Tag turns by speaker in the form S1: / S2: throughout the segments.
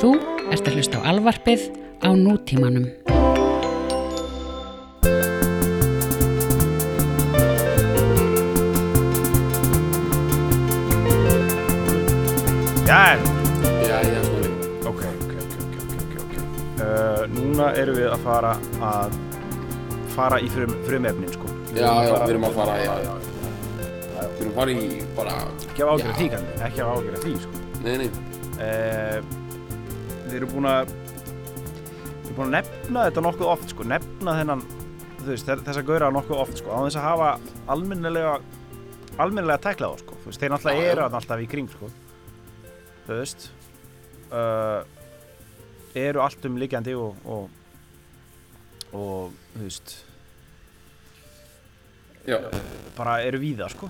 S1: Þú ert að hlusta á alvarpið á nútímanum.
S2: Já,
S3: Já, já, svona
S2: ok, ok, ok, ok, ok, ok, ok. Uh, núna erum við að fara að fara í frum, frumefnin, sko.
S3: Já, já, við erum að fara, já, já Við erum að fara í bara,
S2: Ekki af ágjöra
S3: Já.
S2: því, kannski, ekki af ágjöra því, sko.
S3: nei, nei
S2: Uh, við erum búin að, við erum búin að nefna þetta nokkuð oft, sko, nefna þennan, þú veist, þe- þessa gauðra nokkuð oft, sko, á þess að hafa almennilega, almennilega tæklað á, sko, þú veist, þeir
S3: Já,
S2: náttúrulega
S3: já.
S2: eru þarna alltaf í kring, sko, þú veist, uh, eru allt um líkjandi og, og, og, þú veist,
S3: Já,
S2: bara eru víða, sko.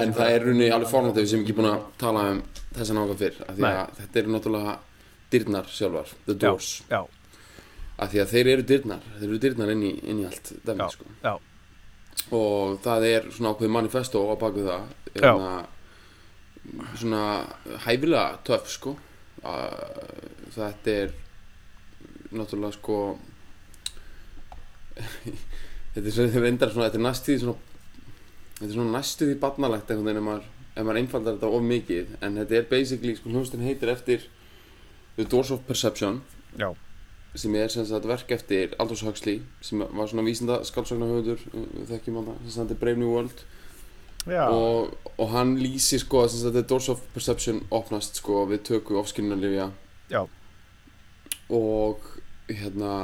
S3: en það er runni alveg fornátt ef við sem ekki búin að tala um þessa nága fyrr af því að þetta eru náttúrulega dyrnar sjálfar, the doors
S2: Já,
S3: af því að þeir eru dyrnar, þeir eru dyrnar inn í, inn í allt
S2: já,
S3: dæmi, sko
S2: já,
S3: og það er svona ákveð manifesto á baku það Hérna,
S2: Já.
S3: svona hæfilega töff sko að, þetta er náttúrulega sko þetta er svona reyndar svona, þetta er næstuði svona þetta er svona næstuði barnalegt einhvern veginn ef maður, ef maður einfaldar þetta of mikið en þetta er basically sko hljómsveitin heitir eftir The Doors of Perception
S2: já,
S3: sem er sem sagt verk eftir Aldous Huxley sem var svona vísinda skálsagnahöfundur uh, þekkjum hann sem sagt er Brave New World
S2: já,
S3: og, og hann lýsir sko að sem sagt The Doors of Perception opnast sko við töku ofskinnarlifja
S2: já,
S3: og hérna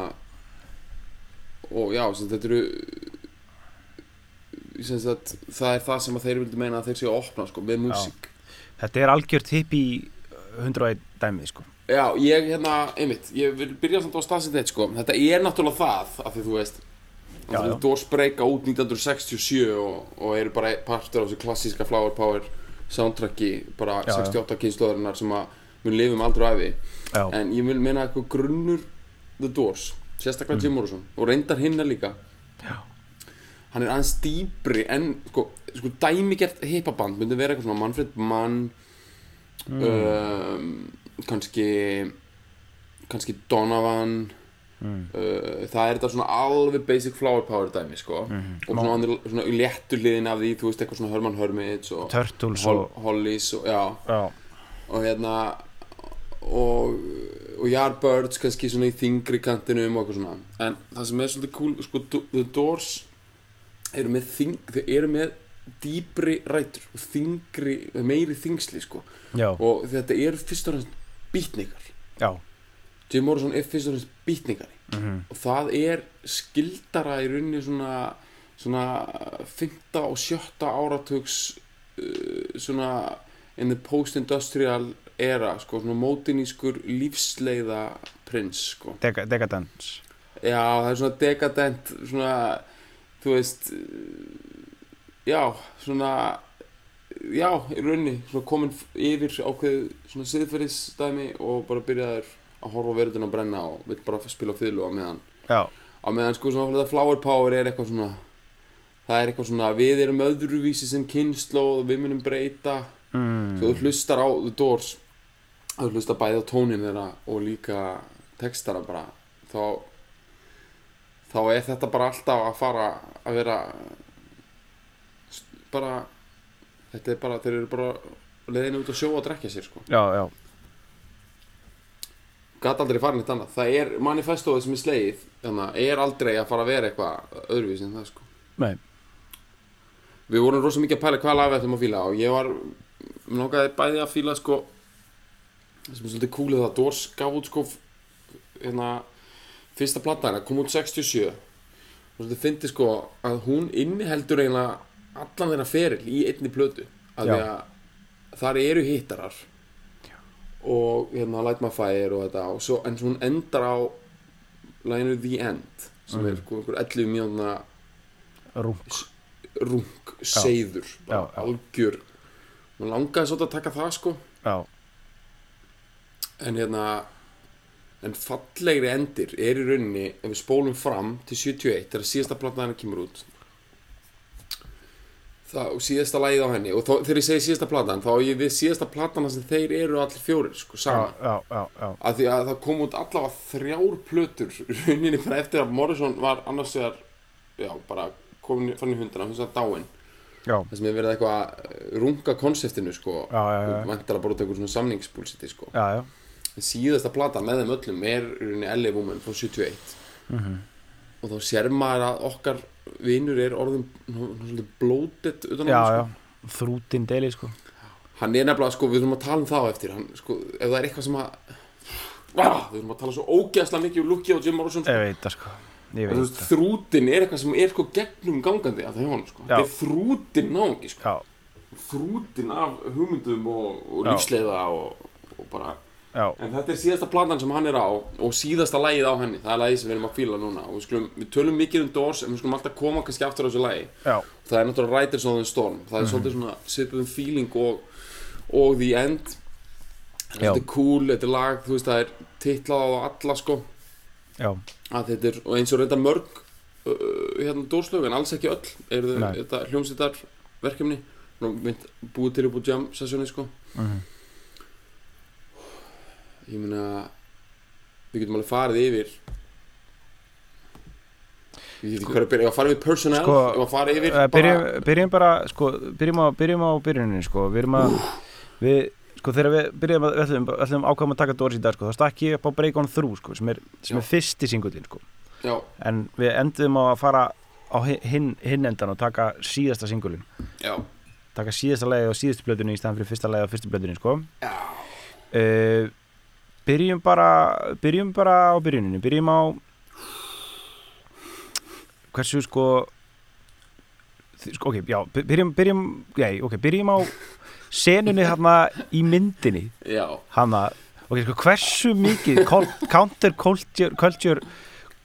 S3: og já sem sagt þetta eru sem sagt það er það sem að þeir vildu meina að þeir séu að opna sko með músík
S2: þetta er algjört hipp í 101 dæmið, sko.
S3: Já, ég hérna, einmitt, ég vil byrja samt á staðsett eitt sko, þetta er náttúrulega það, af því þú veist,
S2: Já,
S3: já,
S2: já.
S3: já. Doors breyka út 1967 og, og eru bara partur af þessu klassíska Flower Power soundtracki, bara
S2: Já, já.
S3: 68 kynnslóðurinnar sem að um við lifum aldrei af því,
S2: Já,
S3: en ég vil meina eitthvað grunnur The Doors, sérstaklega Jim Morrison, og reyndar hinna líka,
S2: Mm. já.
S3: hann er aðeins dýbri en sko, sko dæmigert hippaband myndi vera eitthvað svona Manfred Mann
S2: Mm.
S3: um, kannski kannski Donovan
S2: Mm.
S3: uh, það er þetta svona alveg basic flower power dæmi sko
S2: Mhm.
S3: og svona, hann er svona í léttu hliðin af því þú veist eitthvað svona Herman Hermits og
S2: Turtles
S3: Hol
S2: og
S3: Hollies og, já,
S2: já,
S3: og hérna og, og Yardbirds kannski svona í þingri kantinum og eitthvað svona en það sem er svolítið cool sko, Do- The Doors eru með þing, þau eru með dýpri rætur og þingri, meiri þingsli sko.
S2: já,
S3: og þetta eru fyrst og fremst býtningar
S2: já,
S3: Jim Morrison er fyrst og fremst býtningari og það er skildara í rauninni svona, svona 5. og 7. áratugs uh, svona in the post-industrial era sko, svona mótinískur lífsleiða prins sko.
S2: Dega- Degadance
S3: já, það er svona dekadent svona, þú veist uh, já, svona já, í rauninni svona komin f- yfir ákveð svona siðferðisdæmi og bara byrjaður að horfa á verðin að brenna og vill bara spila fylgu á meðan
S2: Já,
S3: á meðan sko svona þetta flower power er eitthvað svona það er eitthvað svona við erum öðruvísi sem kynnslóð og við munum breyta
S2: mm.
S3: svo þú hlustar á The Doors þú hlustar bæði á tónin þeirra og líka textara bara þá þá er þetta bara alltaf að fara að vera bara þetta er bara, þeir eru bara leiðinu út að sjóa og drekja sér sko
S2: já, já,
S3: Gat aldrei farin eitt annað. Það er manifestóið sem er slegið, þannig að er aldrei að fara að vera eitthvað öðruvísi en það sko.
S2: nei
S3: Við vorum rosa mikið að pæla hvað lag við ætlum að fíla og ég var, mér langaði bæði að fíla sko, sem er svolítið coolið það, Dors gaf út sko, hérna, fyrsta platta hérna, kom út 67 og svolítið fyndi sko að hún inniheldur eiginlega allan þeirra feril í einni plötu, af því
S2: Já.
S3: að þar eru hittarar og hérna Light My Fire og þetta og svo, en svo hún endar á læginu The End sem er sko einhver 11 mjóna
S2: Rúk,
S3: rung, seiður bara
S2: já.
S3: algjör maður langaði svolítið að taka það sko
S2: já,
S3: en hérna en fallegri endir er í rauninni ef við spólum fram til 71 þegar síðasta platna hennar kemur út það, og síðasta lagið á henni og þó, þegar ég segi síðasta platan þá á ég við síðasta platana sem þeir eru allir fjórir sko, saman
S2: já, já, já,
S3: að því að það kom út allavega þrjár plötur í rauninni bara eftir að Morrison var annars vegar já, bara komin fann í hundana, hún sagði dáin
S2: já,
S3: það sem er verið eitthvað að eh, runga konseptinu sko,
S2: Já, já, já.
S3: vantar að bara út eitthvað svona samningspúlsiti sko.
S2: já, já.
S3: En síðasta plata með þeim öllum er í rauninni LA Woman frá 71
S2: Mhm.
S3: og þá sér maður að okkar vinur er orðum blótett utan á
S2: já,
S3: hann,
S2: já. þrútin deli sko
S3: hann er nefnilega sko, við þurfum að tala um það á eftir hann, sko, ef það er eitthvað sem að ah, við þurfum að tala svo ógeðslega mikið um Luki og Jim Morrison sko.
S2: ég veit það sko ég
S3: En þú
S2: veit
S3: veist,
S2: það
S3: þrútin er eitthvað sem er sko gegnum gangandi að það hjá hann sko.
S2: Já.
S3: þetta er þrútin náungi sko.
S2: já,
S3: þrútin af hugmyndum og, og
S2: Já.
S3: lífsleiða og, og bara
S2: já,
S3: en þetta er síðasta platan sem hann er á og síðasta lagið á henni, það er lagið sem við erum að fíla núna og við, skulum, við tölum mikið um Doors en við skulum alltaf koma kannski aftur á þessu lagi
S2: já,
S3: það er náttúrulega Riders on the Storm það er
S2: Mhm.
S3: svolítið svona svipuðum feeling og, og The End Það er
S2: Já.
S3: svolítið cool, þetta er lag þú veist það er titlað á alla sko
S2: já,
S3: að þetta er, og eins og reynda mörg uh, hérna dórslög en alls ekki öll er
S2: Nei.
S3: þetta hljómsveitar verkefni Nú, mynd, búið til upp úr jam sessjóni sko
S2: Mhm.
S3: ég meina við getum alveg farið yfir ég veit ekki hvað er að byrja, ég var að fara yfir personnel
S2: Sko,
S3: ég var að fara yfir
S2: Eh, byrjum, byrjum bara sko, byrjum á, byrjum á byrjuninni sko við erum að við, sko þegar við byrjum að, við ætlum, við ætlum ákvæm að taka Doris í dag sko þá stakk ég upp á Break on Through sko sem er, sem
S3: Já.
S2: er fyrsti singullin sko
S3: já,
S2: en við endum á að fara á hi- hinn, hinn endan og taka síðasta singullin
S3: já,
S2: taka síðasta leiði á síðustu blöðunni í staðan fyrir fyrsta leiði á fyrstu blöðunni sko
S3: já
S2: uh, byrjum bara byrjum bara á byrjuninni byrjum á hversu sko þi- sko, ok, já, by- byrjum byrjum, já, ok, byrjum á senunni þarna í myndinni
S3: já,
S2: hana, ok, sko, hversu mikið col- counterculture culture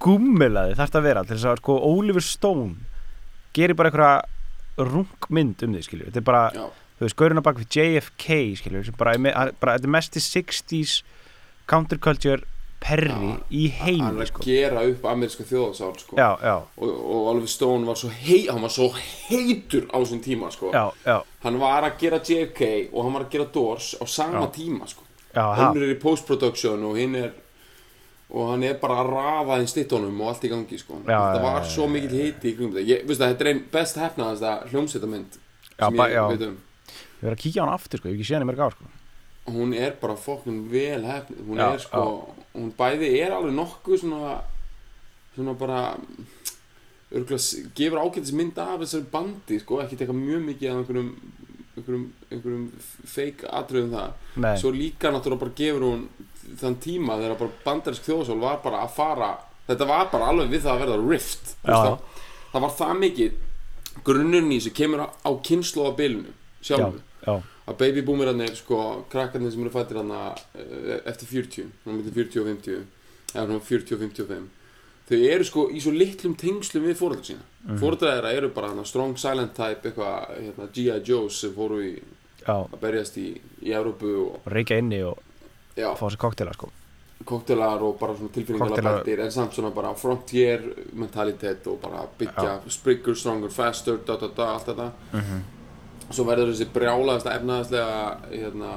S2: gummelaði þarf að vera til þess að sko Oliver Stone gerir bara einhverja rungmynd um því, skilju, þetta er bara
S3: já
S2: þú veist, gaurinn á bak við JFK skilur, sem bara, er me- hann- bara þetta er mesti 60s counterculture perri í
S3: hann
S2: heimi
S3: er að
S2: sko.
S3: gera upp ameríska þjóðasál sko.
S2: já, já,
S3: og, og Oliver Stone var svo, hei, hann var svo heitur á þessum tíma sko.
S2: já, já,
S3: hann var að gera JFK og hann var að gera Doors á sama tíma sko.
S2: já, ha,
S3: hann er í post-production og hinn er og hann er bara að raða inn stittunum og allt í gangi sko.
S2: Já,
S3: þetta
S2: já,
S3: var
S2: já,
S3: svo mikill hiti í kringum þetta Ég- veistu það, þetta er einn best hefnaðasta hljómsveitamynd
S2: Já,
S3: sem
S2: ba-
S3: ég
S2: já.
S3: veit um
S2: við erum að kíkja á hann aftur sko, ég hef ekki séð hann í mörg ár sko.
S3: hún er bara fokkin vel hefnið hún
S2: Já,
S3: er sko, hún bæði er alveg nokkuð svona svona bara örgulega, gefur ágætis mynd af þessari bandi sko, ekki teka mjög mikið af einhverjum einhverjum, einhverjum fake atriðum það
S2: Nei,
S3: svo líka náttúrulega bara gefur hún þann tíma þegar bara bandarisk þjóðsól var bara að fara þetta var bara alveg við það að verða rift þú
S2: Já.
S3: veist það, það var það mikið grunnurinn í þessu kemur á, á kynnslóðabilinu
S2: já,
S3: sjálfu
S2: já,
S3: að babyboomerarnir, sko, krakkarnir sem eru fættir hann eftir 40, hann myndir 40 og 50 eða hann 40 og 55 þau eru sko í svo litlum tengslum við fóröldar sína mm. fóröldar þeirra eru bara hann strong silent type, eitthvað, hérna, G.I. Joes sem fóru í,
S2: já
S3: að berjast í, í Evrópu og,
S2: og reykja inni og
S3: já,
S2: fá sér koktela sko.
S3: koktelar og bara svona tilfinningalega
S2: Koktelar.
S3: bættir en samt svona bara frontier mentalitet og bara byggja sprigger, stronger, faster, da da da, allt þetta svo verður þessi brjálaðasta efnaðaslega hérna,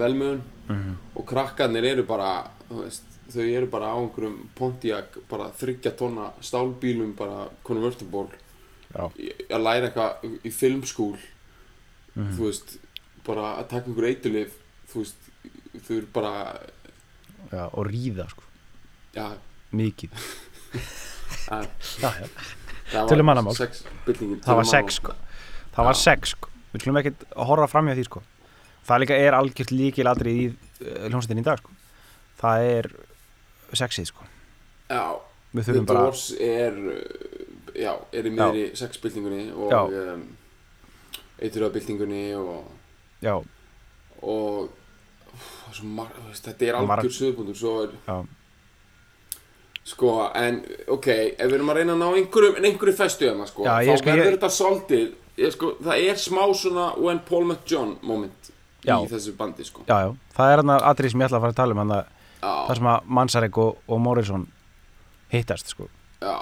S3: velmöðun og krakkarnir eru bara þú veist, þau eru bara á einhverjum Pontiac bara þryggja tonna stálbílum bara convertible
S2: Já.
S3: í- að læra eitthvað í- í filmskúl
S2: Mm.
S3: þú veist bara að taka einhver eitulif þú veist, þau eru bara
S2: já, og ríða sko,
S3: já,
S2: mikið
S3: að
S2: já, já.
S3: Það
S2: Tölum
S3: var
S2: mannamál.
S3: sex- byltingin,
S2: það
S3: tölum
S2: var sex
S3: mannamál.
S2: sko. það var
S3: Já.
S2: sex sko. við skulum ekkert horfa framhjá því sko. það líka er algjört líkilatri í uh, hljómsveitinni í dag sko. það er sexið sko.
S3: Já,
S2: við
S3: The
S2: þurfum bara
S3: Doors er uh, Já, er í miðri sexbyltingunni Og
S2: Já.
S3: um, Eituröðbyltingunni Og,
S2: já,
S3: og úff, svo mar, þú veist, Þetta er
S2: Og marg-
S3: algjör söðbundur Svo er
S2: Já.
S3: Sko, en ok Ef við erum að reyna að ná einhverjum, en einhverju festu hérna, sko,
S2: Já,
S3: Þá
S2: ég sko-
S3: verður
S2: ég-
S3: þetta svolítið ég, sko, Það er smá svona When Paul met John moment
S2: Já.
S3: Í þessu bandi, sko
S2: já, já, það er hann aðrið sem ég ætla að fara að tala um hann
S3: Já,
S2: þar sem að Mansarek og, og Morrison hittast sko
S3: já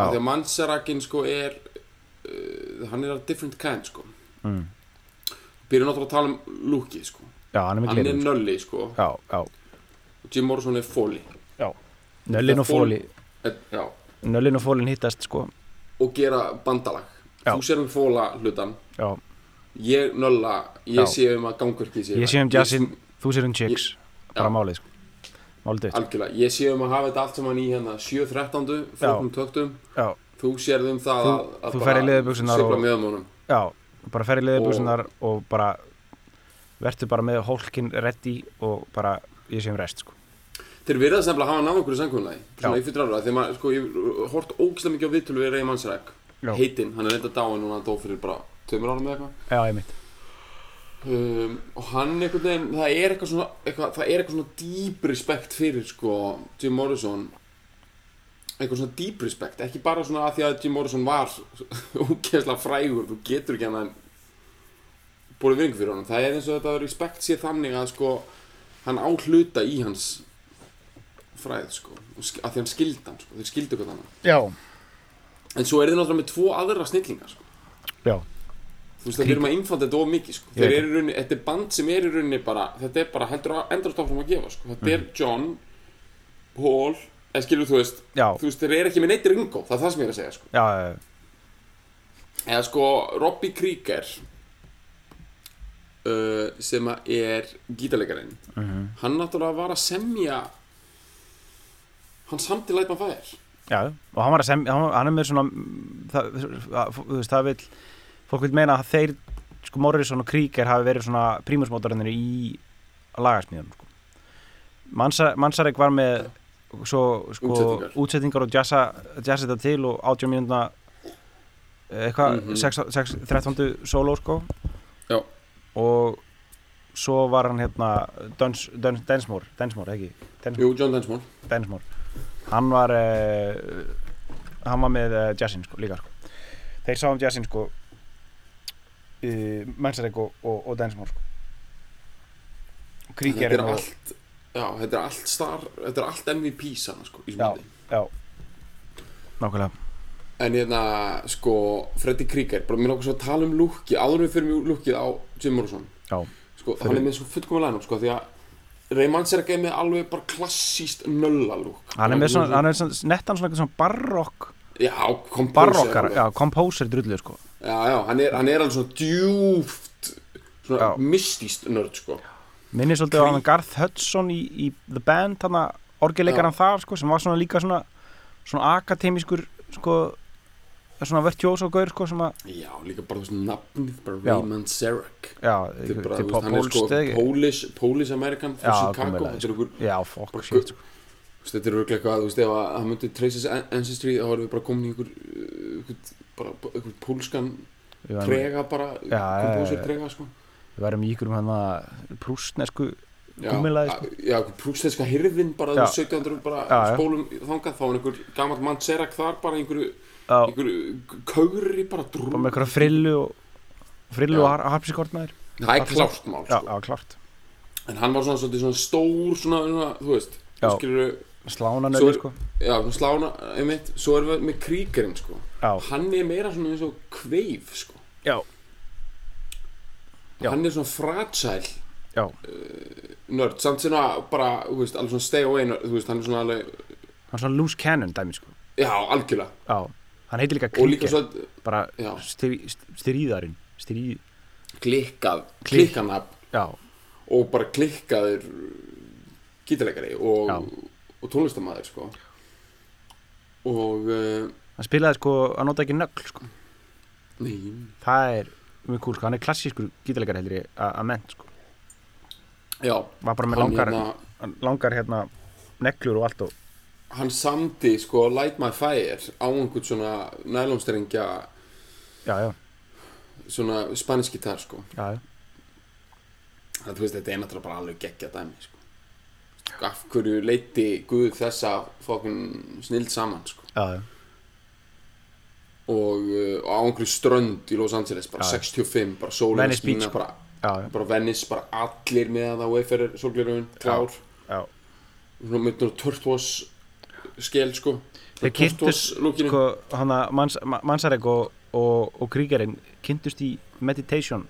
S3: Af því að mannsarakin sko er uh, hann er a different kind sko
S2: Mm.
S3: byrja náttúrulega að tala um Luki sko
S2: Já, hann er með
S3: hann er
S2: glerin
S3: nölli sko
S2: Já, já,
S3: og Jim Morrison er fóli
S2: já Nöllin og fóli
S3: já,
S2: Nöllin og fólin hittast sko
S3: og gera bandalag
S2: Já.
S3: þú sér um fóla hlutan
S2: Já,
S3: ég nölla,
S2: Já.
S3: ég sé um að gangverki sé
S2: ég sé um
S3: Ég-
S2: Jassin, þú sé um Chicks Bara
S3: Já.
S2: málið sko Málið þitt.
S3: algjörlega, ég sé um að hafa þetta allt saman í hérna 7.13. flokkum töktum
S2: Já,
S3: þú sérð um það
S2: Þú-
S3: að, að
S2: þú
S3: bara
S2: ferð í leðurbuxurnar
S3: sigla
S2: og-
S3: með um honum
S2: já, bara ferði leðibúsunar og bara Vertu bara með hólkin ready og bara ég sé um rest sko
S3: Þeir virðast nefnilega að hafa náð okkur í samkvæmulagi Svona
S2: Já.
S3: í fyrir ára Þegar maður, sko, ég hort ógislega mikið á viðtölu við Ray Mansræk
S2: Já.
S3: Heitinn, hann er reynda dáin núna hann dó fyrir bara Tömur árum eða eitthvað
S2: Já, ég mitt
S3: um, Og hann einhvern veginn, það er eitthvað svona eitthvað, Það er eitthvað svona dýp respekt fyrir sko Jim Morrison Eitthvað svona dýp respekt Ekki bara svona að því að Jim Morrison var Ógeðslega frægur Þú getur ekki hann Búið virðingu fyrir honum Það er eins og þetta respekt sé þannig að sko Hann á hluta í hans fræð sko, og sk- af því hann skildi hann sko, þeir skildi okkur þannig
S2: Já,
S3: en svo er þið náttúrulega með tvo aðra snillingar sko.
S2: já,
S3: þú veist það
S2: Krík.
S3: erum að innfanda þetta of mikið sko.
S2: Ég
S3: þeir
S2: veit
S3: eru í rauninni, þetta er band sem er í rauninni bara, þetta er bara heldur að endast áfram að gefa sko. þetta
S2: Mhm.
S3: er John, Paul eða skilur þú veist,
S2: já,
S3: þú veist þeir eru ekki með neitt ringo, það er það sem ég er að segja sko.
S2: já, já,
S3: eða sko Robbie Krieger uh, sem að er gítalegarinn
S2: Mhm.
S3: hann náttúrulega var að semja hann samti læt maður fæðir
S2: já Og hann var að sem, hann, hann er með svona mm, það, Þú veist, það vil Fólk vil meina að þeir, sko Morrison og Krieger hafi verið svona prímusmótarinnir í lagasmíðunum sko. Mansa- Mansarik var með svo, sko,
S3: Útsetningar.
S2: útsetningar, og jazza, jazza þetta til og 80 mínúna eitthvað
S3: Mhm.
S2: 6, 6, 13. solo sko
S3: Já.
S2: og svo var hann hérna Duns, Duns, Densmore, Densmore ekki Densmore,
S3: Jú, John Densmore
S2: Densmore hann var uh, hann var með uh, jazzin sko, líka sko. þeir sáum jazzin sko uh, Mansarik og, og, og Densmore sko. og Krieger
S3: þetta er
S2: og-
S3: allt já, þetta er allt star, þetta er allt MVP sann sko, í
S2: já,
S3: smundi
S2: já nákvæmlega
S3: en hérna, sko, Freddy Krieger bara mér lókur svo að tala um lúki, áður en við fyrir mjög lúkið á Jim Morrison
S2: já,
S3: sko,
S2: Fyrir-
S3: hann er með svo fullkomið lænum, sko, því að Reymans er ekki með alveg bara klassíst nölla lúk
S2: hann er með svona, hann er svona, nettan svona, eitthvað svona barokk
S3: já, komposer
S2: barokkar,
S3: eitthvað.
S2: já, composer drullu sko
S3: já, já, hann er, hann er alveg svona djúft svona
S2: Já.
S3: mystíst nörd, sko
S2: Minni svolítið á hann Garth Hudson í, í The Band, hann að orgelleikaran þar sko, sem var svona líka svona, svona akademískur sko, svona virtuósogaur sko, sem að
S3: já, líka bara þú veist nafnið, bara
S2: Já.
S3: Reymans Serek
S2: já,
S3: Þetta
S2: til
S3: er bara, þú veist,
S2: Pop
S3: hann er sko
S2: Holst eða ekki?
S3: Polish, Polish American frá
S2: Já, sko.
S3: Chicago,
S2: komulega,
S3: þetta er okkur
S2: Já, fokk,
S3: bara
S2: shit sko.
S3: Þú veist, Þetta er örglega eitthvað, þú veist, ef að hann myndi Traces Ancestry þá erum við bara komin í einhver, uh, einhver, bara, einhver pólskan
S2: Við værum-
S3: trega bara,
S2: Já, já,
S3: kompósir
S2: já.
S3: trega, sko.
S2: við værum í ykkur um hann að prústnesku
S3: Já,
S2: Gúmmulaði,
S3: sko. Já, einhver prústeska hirðin bara,
S2: Já.
S3: þú veist, 1700 bara
S2: Já, já.
S3: spólum þangað, þá er einhver gammal mann Serak þar bara, í einhverju,
S2: á,
S3: einhverju kaugri bara drú.
S2: bara með eitthvað frillu og frillu
S3: Já.
S2: og har, harpsikortnaðir
S3: Það er klárt mál,
S2: Já,
S3: sko.
S2: já, klart
S3: En hann var svona, svona, svona stór, svona, svona, þú veist,
S2: Já.
S3: þú skilur,
S2: Slána
S3: Svo
S2: nöðu
S3: er-
S2: sko
S3: já, svona slána, einmitt, svo erum við með kríkarinn, sko.
S2: Já,
S3: Hann er meira svona eins og kveif, sko.
S2: já, Já.
S3: Hann er svona fragile
S2: já,
S3: nörd, samt svona bara, þú veist, alveg svona stay away nörd, þú veist, hann er svona alveg,
S2: hann er svona loose cannon dæmi sko
S3: já, algjörlega,
S2: Já, hann heitir líka
S3: og líka
S2: Krieger
S3: svona
S2: bara
S3: Já.
S2: stríð- stríðarinn stríð,
S3: klikkað,
S2: Klikk.
S3: klikkanab
S2: já,
S3: og bara klikkaður gítarleikari og,
S2: Já.
S3: og tónlistamæður, sko. Og, uh,
S2: hann spilaði sko, hann nota ekki nögl sko.
S3: nei,
S2: það er mjög kúl, sko. hann er klassískur gítarleikar heldur ég að að mennt sko.
S3: já,
S2: var bara með
S3: hann,
S2: langar,
S3: hérna-
S2: hérna, langar hérna, neglur og allt og
S3: hann samdi, sko, Light My Fire á einhvern svona nælónstrengja,
S2: já, já,
S3: svona spanisk gitar, sko.
S2: já, já.
S3: Það, þú veist, þetta er náttúrulega bara alveg geggja dæmi, sko. Af hverju leiti Guð þessa fokkun snild saman, sko.
S2: já, já.
S3: Og, uh, og á einhverju strönd í Los Angeles, bara
S2: Já.
S3: 65, bara sólinn
S2: Venice Beach,
S3: skína,
S2: sko.
S3: bara,
S2: Já, já,
S3: bara Venice, bara allir með það, Wayfarer, sólgliröfun, klár,
S2: já.
S3: svona með náttúrulega turtwas skel, sko.
S2: Þeir sko kynntust-
S3: lúkinu.
S2: Sko, hann að Mans, Ma- Manzarek og, og, og krigarinn kynntust í meditation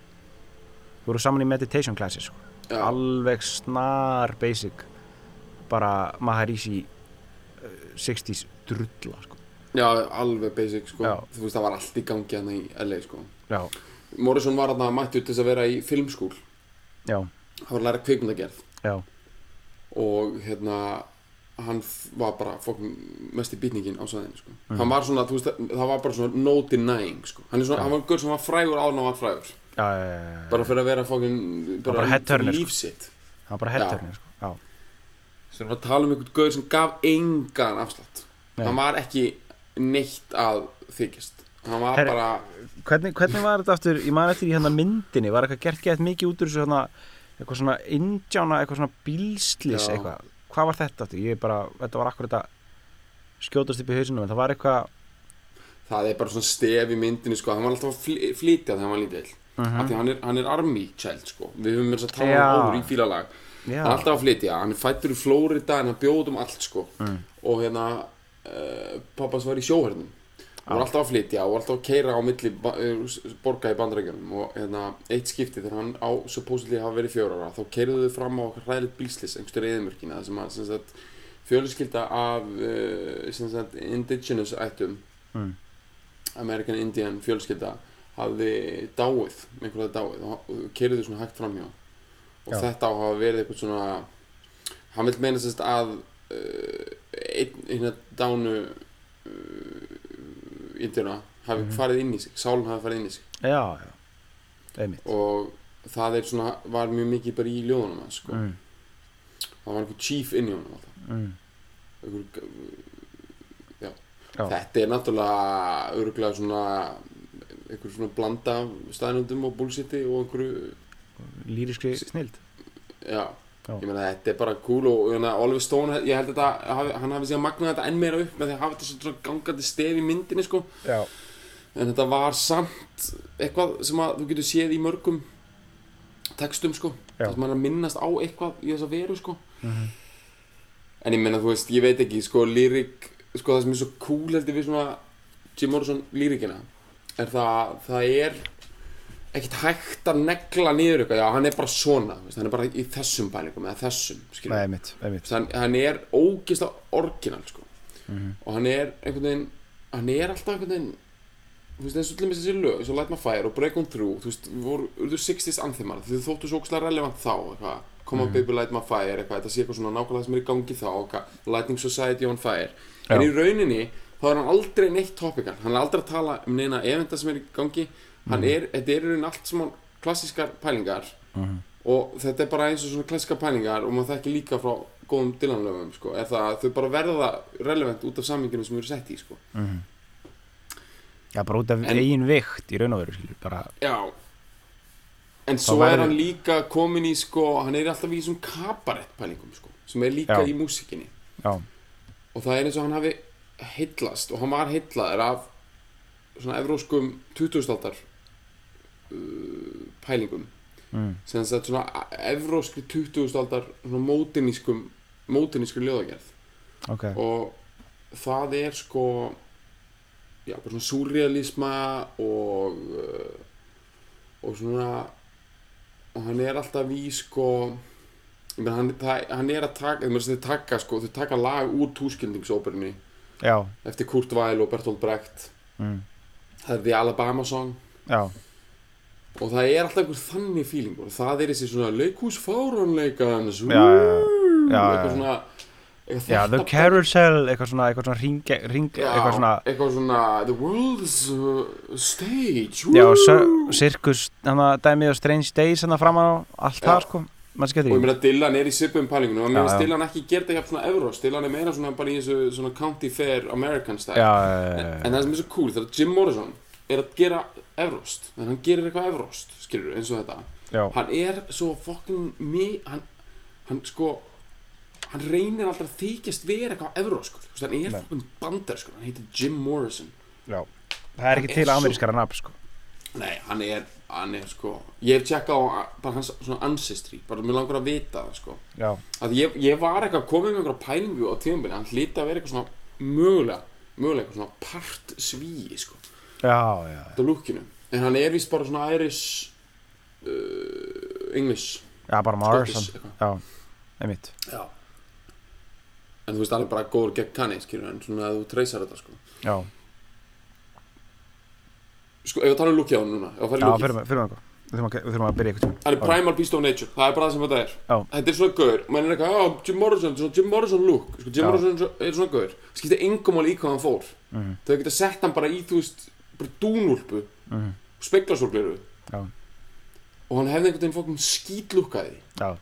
S2: voru saman í meditation classes sko.
S3: Já.
S2: alveg snar basic bara Maharishi uh, 60s drulla sko.
S3: Já, alveg basic sko
S2: Já.
S3: Þú veist, það var allt í gangi hann í LA sko
S2: já,
S3: Morrison var hann mættur til þess að vera í filmskúl
S2: já,
S3: Hann var að læra kvikmyndagerð
S2: já,
S3: Og hérna, hann f- var bara fokkin mest í býtningin á sæðinu sko
S2: Mm.
S3: Hann var svona, þú veist, það var bara svona no denying sko Hann er svona, hann var gaur sem var frægur áður en hann var frægur
S2: já, já, já, já.
S3: Bara fyrir að vera fokkin,
S2: bara head turner, sko.
S3: lífsitt
S2: hann var bara headturning sko. já,
S3: Svo erum við að tala um einhvern gaur sem gaf engan afslátt
S2: Nei.
S3: Hann var ekki neitt að þykist Hann var
S2: Herri-
S3: bara,
S2: hvernig, hvernig var þetta aftur, ég man eftir í hérna myndinni var eitthvað gert gett mikið út úr þessu hérna, eitthvað svona indjána, eitthvað svona bílslis
S3: Já.
S2: eitthvað, hvað var þetta aftur ég bara, þetta var akkur þetta skjótast upp í hausinu, en það var eitthvað
S3: það er bara svona stef í myndinni sko, hann var alltaf að fly- flytja þegar hann var lítill uh -huh. því hann er, hann er army child sko við höfum verið að tala
S2: Mhm. Já.
S3: um áður í fílalag
S2: Já.
S3: hann er alltaf að flytja, hann er fættur í Flórida en hann bjóð út um allt sko og hérna uh, pappas var í sjóhernum og var alltaf að flytja og var alltaf að keira á milli ba- eh, s- borga í bandarækjunum og hérna eitt skipti þegar hann á supposedly hafa verið fjóra ára þá keirðu þau fram á hræðilegt bílslis einhverstu reyðumörkina þar sem að sem sagt, fjöluskylda af uh, sem sagt, indigenous ættum
S2: Mm.
S3: American Indian fjölskylda hafði dáið, einhverja hafði dáið og keiriði svona hægt framhjá og
S2: Já.
S3: þetta á að hafa verið eitthvað svona hann vil meina sérst að uh, einn hérna dánu uh, indjana hafi
S2: Mhm.
S3: farið inn í sig, sálum hafi farið inn í sig
S2: já, já, einmitt
S3: og það er svona, var mjög mikið bara í ljóðunum hans sko,
S2: mm,
S3: það var einhver chief inn í honum alltaf
S2: mm,
S3: einhver, já.
S2: Já.
S3: þetta er náttúrulega öruglega svona einhver svona blanda af staðnundum og bullshiti og einhverju
S2: lýriskri snild
S3: já,
S2: Já.
S3: ég meina þetta er bara cool og og hérna, Oliver Stone, ég held þetta hafi- hann hafi síðan magnað þetta enn meira upp með því að hafa þetta svona gangandi stef í myndinni sko
S2: já,
S3: en þetta var samt eitthvað sem að þú getur séð í mörgum textum sko
S2: Já.
S3: þess að maður er að minnast á eitthvað í þess að veru sko en ég meina þú veist, ég veit ekki sko lírik, sko það sem er svo cool heldur við svona Jim Morrison lírikina er það að það er ekkert hægt að negla niður eitthvað, já hann er bara svona þú veist, hann er bara í þessum bælingum eða þessum skilur
S2: nei, einmitt, einmitt
S3: hann, hann er ógisla orginal sko. og hann er einhvern veginn hann er alltaf einhvern veginn þú veist eins og til dæmis þessi lög eins og Light My Fire og Break On Through þú veist, voru urður 60s anthemar þau þóttu svo ógislega relevant þá eitthvað Come on baby light my fire eitthvað, þetta sé eitthvað svona nákvæmlega sem er í gangi þá eitthvað, Lightning Society on fire en
S2: Já.
S3: í rauninni þá er hann aldrei neitt topical, hann er aldrei að tala um neina eventa sem er í gangi hann er, þetta er í rauninni allt sem hann klassískar pælingar og þetta er bara eins og svona klassika pælingar og maður þekki líka frá góðum Dylan-löfum sko, er það að þau bara verða relevant út af saminginu sem eru sett í sko.
S2: já, bara út af
S3: En-
S2: eigin vikt í raun og veru skilur, bara,
S3: já en svo
S2: verður-
S3: er hann líka komin í sko, hann er alltaf í svona kabarett pælingum sko, sem er líka
S2: Já.
S3: í músikinni
S2: já,
S3: og það er eins og hann hafi heillast og hann var heillaður af svona evróskum 2000-aldar uh, pælingum
S2: Mm.
S3: sem þetta svona evróskri 2000-aldar svona mótinískum mótinískur ljóðagerð
S2: ok
S3: og það er sko já, bara svona súrrealisma og uh, og svona og hann er alltaf í sko ég meina, hann, það, hann er að taka, ég meina, þau taka sko, þau taka lag úr túskildingsoperunni
S2: já,
S3: eftir Kurt Weill og Bertolt Brecht
S2: mm,
S3: það er The Alabama Song
S2: já,
S3: og það er alltaf einhver þannig feeling og það er þessi svona leikhús fáranleikans
S2: Já, já, já. Já, já, já.
S3: eitthvað svona eitthvað
S2: já,
S3: þetta
S2: the carousel eitthvað svona, eitthvað svona ring, ring
S3: Já,
S2: eitthvað svona
S3: eitthvað svona the world's uh, stage
S2: Já,
S3: woo!
S2: sir- sirkus, hann að dæmið og Strange Days hann að framan á allt
S3: Já.
S2: það, sko mann skemmt
S3: og ég
S2: því,
S3: meina Dylan er í sipum pælinginu og mér
S2: Já,
S3: finnst
S2: já.
S3: Dylan ekki gert ekki svona evros Dylan er meira svona bara í þessu svona county fair American style
S2: já,
S3: en,
S2: já,
S3: en það sem er svo cool þegar Jim Morrison er að gera evrost en hann gerir eitthvað evrost skilur eins og þetta
S2: já, já,
S3: hann er svo fokkin mi hann, hann sko hann reynir aldrei að þykjast vera eitthvað evróskur, þú veist, hann er
S2: Nei.
S3: fokkin bandarskur hann heitir Jim Morrison
S2: já það er ekki
S3: Hann
S2: til
S3: er svo-
S2: amerískara nafn, sko
S3: Nei, hann er, hann er sko Ég hef tjekkað á bara hans svona ancestry Bara mér langar að vita það sko
S2: já,
S3: að ég, ég var eitthvað komið með einhverja pælingu á tíðanbili Hann hlýta að vera eitthvað svona mögulega Mögulega eitthvað svona part svíi sko
S2: já, já,
S3: þetta lúkinu en hann er vist bara svona Irish uh, English
S2: já, bara
S3: Scottish,
S2: Morrison
S3: eitthvað.
S2: já, einmitt
S3: Já. en þú veist alveg bara góður gegn kanni skilur en svona að þú treysar þetta sko
S2: já,
S3: sko ef við tala um lúkið á hann núna ef við
S2: já,
S3: farum í
S2: fyrir
S3: lúkið
S2: mig, fyrir mig eitthvað. við þurfum að, við þurfum að byrja eitthvað
S3: hann er primal beast of nature það er bara það sem þetta er
S2: Já.
S3: þetta er svona gaur og maður er eitthvað já Jim Morrison þetta er svona Jim Morrison look sko Jim
S2: Já.
S3: Morrison er svo- er svona gaur skiptir engum alveg í hvað hann fór
S2: Mhm.
S3: þau geta sett hann bara í þú veist bara dúnúlpu
S2: Mhm.
S3: og speklasólgleru
S2: Já.
S3: og hann hefði einhvern veginn fókum skítlúkaði
S2: já,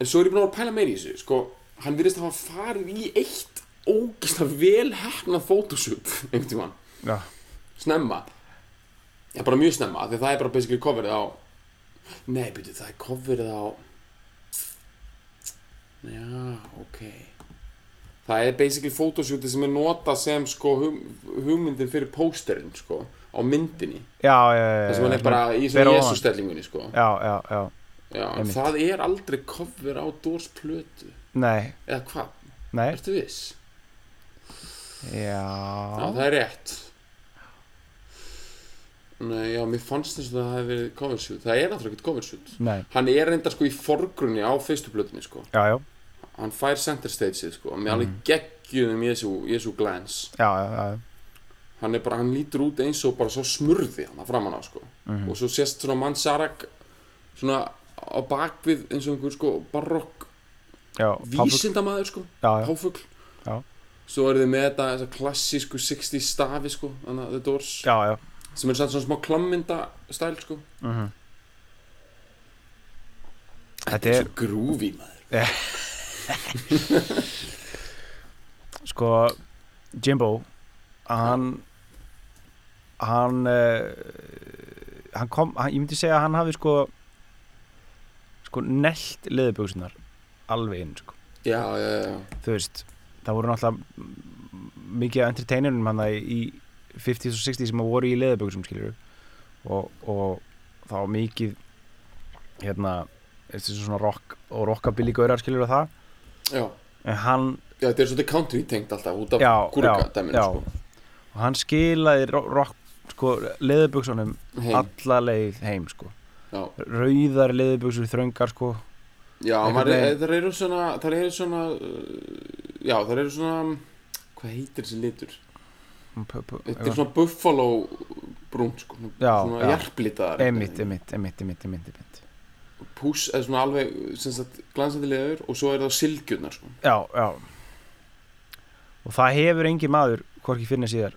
S3: En svo er ég búin að vera að pæla meira í þessu Sko, hann virðist að hafa farið í eitt Ógislega vel hefnað fótoshoot Einhvern tímann,
S2: já,
S3: snemma Já, bara mjög snemma af Því að það er bara basically coverið á Nei, byrju, það er coverið á Já, ok Það er basically photoshootið sem er notað sem sko hum, hugmyndin fyrir pósterinn sko á myndinni
S2: já, já, já
S3: þar sem hann er bara í
S2: Eh, Ber á
S3: svona
S2: ofan.
S3: jesustellingunni sko
S2: já, já, já,
S3: Já, en
S2: einmitt.
S3: það er aldrei cover á Dors plötu
S2: nei,
S3: eða hvað,
S2: nei
S3: ertu viss? Já,
S2: já,
S3: það er rétt Nei, já, mér fannst þess að það hefði verið cover shoot Það er náttúrulega ekkert cover shoot
S2: nei
S3: Hann er reyndar sko í forgrunni á fyrstu plötunni sko
S2: já, já,
S3: Hann fær center stageið sko Með
S2: Mhm.
S3: alveg um geggjuðum Jesu, Jesu glance
S2: já, já, já,
S3: Hann er bara, hann lítur út eins og bara svo smurði hann að framan á sko
S2: Mhm.
S3: Og svo sést svona mannsarag Svona á bakvið eins og einhver sko barokk
S2: já, páfugl.
S3: Vísindamaður sko
S2: já, já,
S3: Háfugl
S2: Já.
S3: Svo eru þið með þetta, þessa klassísku 60 stafi sko, þannig að The Doors
S2: já, já,
S3: sem er samt svona smá klammynda stæl sko
S2: mhm Þetta er,
S3: svo grúfi maður
S2: sko, Jimbo, hann, hann, uh, hann kom, hann, ég myndi segja að hann hafi sko, sko, nelt leðubjöksunar alveg inn, sko.
S3: já, já, já,
S2: Þú veist, það voru náttúrulega m- mikið af entertainerum hann það í 50s og 60s sem voru í leðubjöksum, skilur og, og þá mikið, hérna, þessi svona rock og rockabilly gaurar, skilur það,
S3: já,
S2: en hann
S3: já þetta er svolítið country tengt alltaf út af
S2: Já, já,
S3: kúrkadæminu
S2: já. og
S3: sko
S2: hann skilaði ro- rock, sko, leðuböksunum
S3: heim,
S2: alla leið heim sko.
S3: já,
S2: rauðar leðuböksur þröngar sko.
S3: já
S2: Einhvern
S3: maður,
S2: veginn.
S3: það eru svona það eru svona, uh, já, það eru svona hvað heitir þessi litur
S2: P- p-
S3: þetta er svona buffalo brún sko,
S2: Já,
S3: svona
S2: já.
S3: jarplitaðar
S2: einmitt, einmitt, einmitt, einmitt, einmitt, einmitt.
S3: pús, eða svona alveg sem sagt, glansandi leður og svo er það silgjurnar sko.
S2: Já, já og það hefur engin maður hvorki fyrir síðar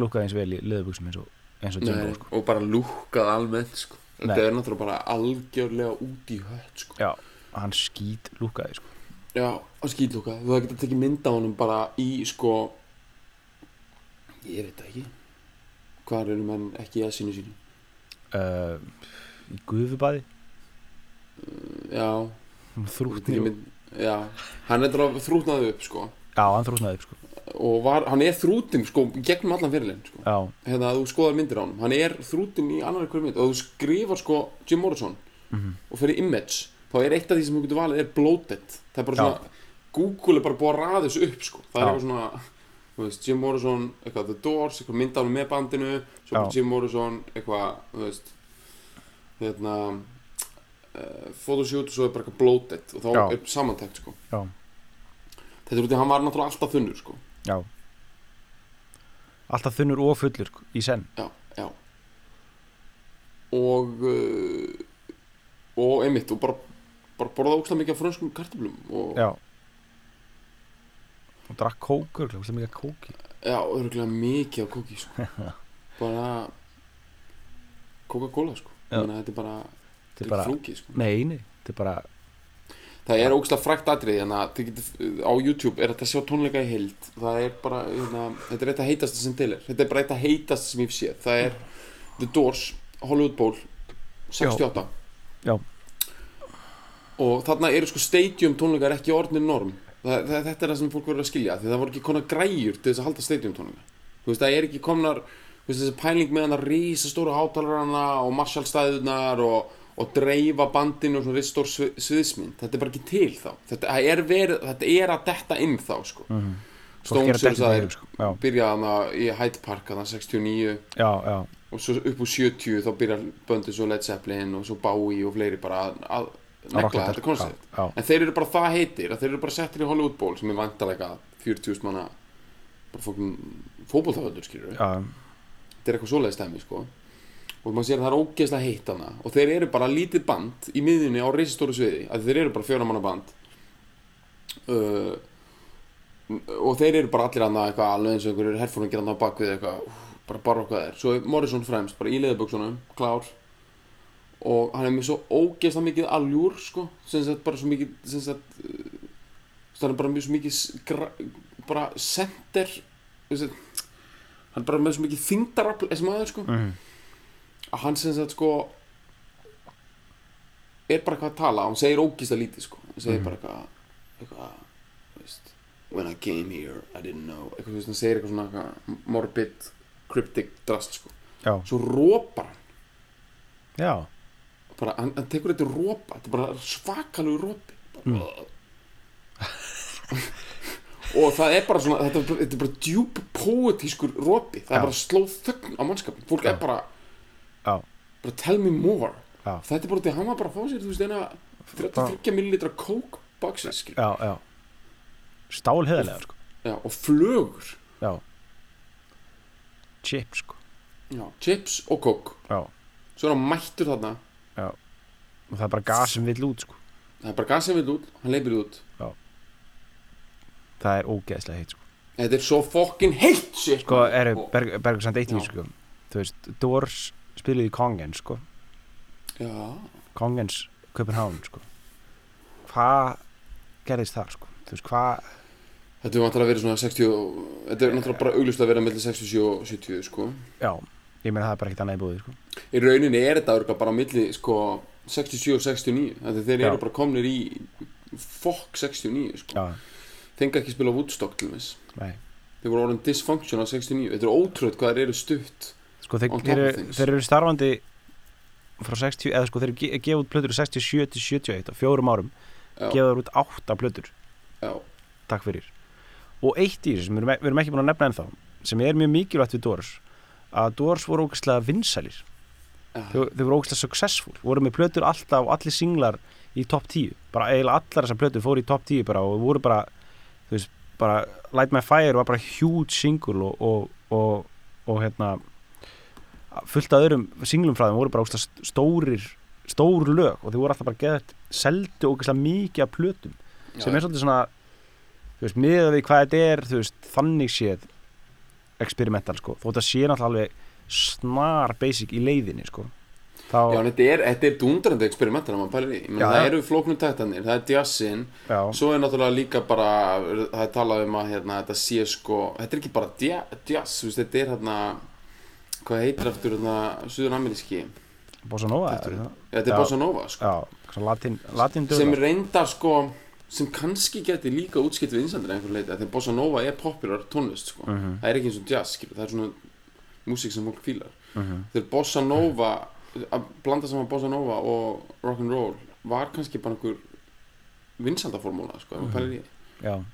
S2: lúkað eins vel í leðuböksum eins og, eins og Jimbo
S3: Nei,
S2: sko.
S3: og bara lúkkað almennt sko.
S2: Nei.
S3: þetta er náttúrulega bara algjörlega út í hött sko.
S2: já, hann skýt lúkaði sko.
S3: já, og skýtlúkkað þú hefði getað tekið mynd á honum bara í sko ég veit það ekki hvar eru menn ekki í aðsynu sínu
S2: uh, í guðfubæði
S3: já, þú getur
S2: þrútni
S3: tekið
S2: og,
S3: mynd já, hann er þetta þrútnaði upp sko
S2: já, hann þrútnaði upp, sko.
S3: og var, hann er þrútin sko gegnum allan fyrirlegin sko.
S2: já,
S3: hérna að þú skoðar myndir á honum hann er þrútin í annari hverju mynd og þú skrifar sko Jim Morrison
S2: Mhm.
S3: og fyrir image þá er eitt af því sem þú getur valið er bloated það er bara
S2: Já.
S3: svona Google er bara búið að raða þessu upp sko það er
S2: Já.
S3: eitthvað svona þú veist, Jim Morrison eitthvað The Doors eitthvað mynd á honum með bandinu svo
S2: Já.
S3: bara Jim Morrison eitthvað þú veist hérna uh, photoshoot og svo er bara eitthvað bloated og þá
S2: Já.
S3: er samantækt sko
S2: já,
S3: þetta er út í að hann var náttúrulega alltaf þunnur sko
S2: já alltaf þunnur og fullur sko, í senn
S3: já, já og uh, og einmitt og bara, bara borða ógstlega mikið af frönskum kartöflum og
S2: Já Og drakk kók örgulega, húslega mikið af kóki
S3: já örgulega mikið af kóki sko. bara Coca-Cola sko
S2: Já.
S3: Þannig að þetta er bara,
S2: Þetta er
S3: bara...
S2: bara,
S3: flókið sko
S2: nei, nei, þetta er bara
S3: það er ógstlega frækt atrið þannig að hérna, þið getið á YouTube er þetta að sjá tónleika í heild það er bara hérna, þetta er eitt að heitast sem til er þetta er bara eitt að heitast sem ég sé það er The Doors Hollywood Bowl 68
S2: Já.
S3: og þarna eru sko stadium tónleikar ekki orðnir norm það, það, þetta er það sem fólk verður að skilja því það voru ekki konar græjur til þess að halda stadium tónleika þú veist það er ekki komnar þú veist, þessi pæling með hann að rísa stóru hátalarana og marsjálstæðunar og, og dreifa bandinu og svona rist stór svið, sviðsmynd þetta er bara ekki til þá þetta er, verið, þetta er að detta inn þá sko.
S2: Mhm. Fólk er að
S3: Stones eru
S2: detta í þeim,
S3: það
S2: sko. Já,
S3: byrja hana í Hyde Park hana 69
S2: já, já,
S3: og svo upp úr 70 þá byrja böndið svo Led Zeppelin og svo Bowie og fleiri bara að, að
S2: Að rocka
S3: negla þetta koncept
S2: Já, já,
S3: en þeir eru bara það heitir að þeir eru bara settir í Hollywood Bowl sem er vantalega 40.000 manna bara fókin fótboltaföldur skilur
S2: já,
S3: þetta er eitthvað svoleiði stæmi sko og maður sér að það er ógeðslega heitt hana og þeir eru bara lítið band í miðjunni á reisistóru sviði að þeir eru bara fjóramanna band uh, og þeir eru bara allir annað eitthvað alveg eins og einhverjur herfónum geta annað bakvið eitthvað úff, bara bara okkar þeir svo er Morrison fremst bara í leðaböksunum klár og hann er með svo ógeðslega mikið aljúr sko sem sagt bara svo mikið sem sagt uh, það er bara mjög svo mikið s- gra, bara sender sem sagt hann er bara með svo mikið þingdarafl þessi maður sko
S2: mhm,
S3: að hann sem sagt sko er bara eitthvað að tala hann segir ógist að lítið sko hann
S2: Mhm.
S3: segir bara eitthvað eitthvað þú veist when I came here I didn't know eitthvað þú veist hann segir eitthvað svona eitthvað morbid cryptic drast sko
S2: já,
S3: svo rópar hann
S2: já,
S3: bara hann, hann tekur þetta rópa þetta er bara svakalegu rópi
S2: Mm.
S3: bara, uh. og það er bara svona þetta er bara, þetta er bara djúp poetískur rópi það
S2: Já.
S3: er bara slóð þögn á mannskapin fólk
S2: Já.
S3: er bara,
S2: já,
S3: bara tell me more
S2: já,
S3: þetta er bara því að hann var bara að fá sér þú veist eina 33 millilitra kók baksis já.
S2: já, já. Stálheðarlega, sko,
S3: já, og flögur
S2: já. Chip, sko,
S3: já, chips og kók
S2: já,
S3: svo er hann mættur þarna
S2: já. Og það er bara gas sem vill út, sko.
S3: það er bara gasið vill út, hann leipir út
S2: Það er ógeðslega heitt, sko.
S3: þetta er svo fokkin heitt sér
S2: Sko, eru Berg, Bergsand eitt í,
S3: Já.
S2: sko. Þú veist, Doors spiluði í Kongen, sko.
S3: já,
S2: Kongens Köpenhavn, sko. Hvað gerðist þar, sko? Þú veist, hvað...
S3: þetta er vantilega að vera svona 60 og- þetta er náttúrulega bara auglust að vera mellir 67 og 70 sko
S2: Já, ég meina það er bara ekkert annað í búið, sko.
S3: í rauninni er þetta örgulega bara milli sko 67 og 69 þetta þeir
S2: Já.
S3: eru bara komnir í fokk 69 sko
S2: Já,
S3: þengar ekki spila Woodstock til þess
S2: nei.
S3: Þeir voru orðin dysfunction á 69 Þetta er ótrúið hvað þeir eru stutt
S2: Sko, þeir,
S3: On top
S2: þeir,
S3: of
S2: eru-
S3: things.
S2: þeir eru starfandi frá 60, eða sko, þeir eru ge- gefa út plötur 67 til 71 á fjórum árum.
S3: Já,
S2: Gefa þeir út átta plötur,
S3: já,
S2: takk fyrir. Og eitt í þessu sem við erum, e- við erum ekki búin að nefna ennþá, sem er mjög mikilvægt við Doors, að Doors voru ógeðslega vinsælir.
S3: já,
S2: Þau, þau voru ógeðslega successful, voru með plötur alltaf og allir singlar í topp 10. Bara eiginlega allar þessar plötur fóru í topp 10 bara og voru bara, þú veist, bara Light My Fire var bara huge single og, og, og, og hérna fullt af öðrum singlum frá þeim voru bara ógeðslega stórir stór lög og þau voru alltaf bara geðt seldu ógeðslega mikið af plötum sem er svolítið svona þú veist, miðað við hvað þetta er þú veist, þannig séð experimental sko, þó þetta sé náttúrulega alveg snar basic í leiðinni sko þá,
S3: já, en þetta er, þetta er dundrandi eksperimentin að maður pælir í Ég meina,
S2: Já,
S3: Það
S2: já.
S3: eru flóknum taktanir, það er jazzin
S2: já,
S3: Svo er náttúrulega líka bara Það er talað um að hérna, þetta sé sko Þetta er ekki bara dia- jazz þú veist, Þetta er hérna Hvað heitir aftur hérna, suður-ameríski
S2: bossa nova
S3: Þetta
S2: er
S3: er-
S2: það?
S3: Þetta
S2: Já.
S3: er bossa nova sko
S2: já, svona latin, latin
S3: Sem
S2: döglar.
S3: reyndar sko sem kannski geti líka útskipt við einsandir einhver leiti, af því að bossa nova er popular tónlist sko,
S2: Mhm.
S3: það er ekki eins og jazz skilur, það er svona músík sem fólk fílar
S2: Mhm.
S3: þegar bossa nova að blanda saman bossa nova og rock'n'roll var kannski bara einhver vinsaldaformúla sko, mm -hmm.
S2: já,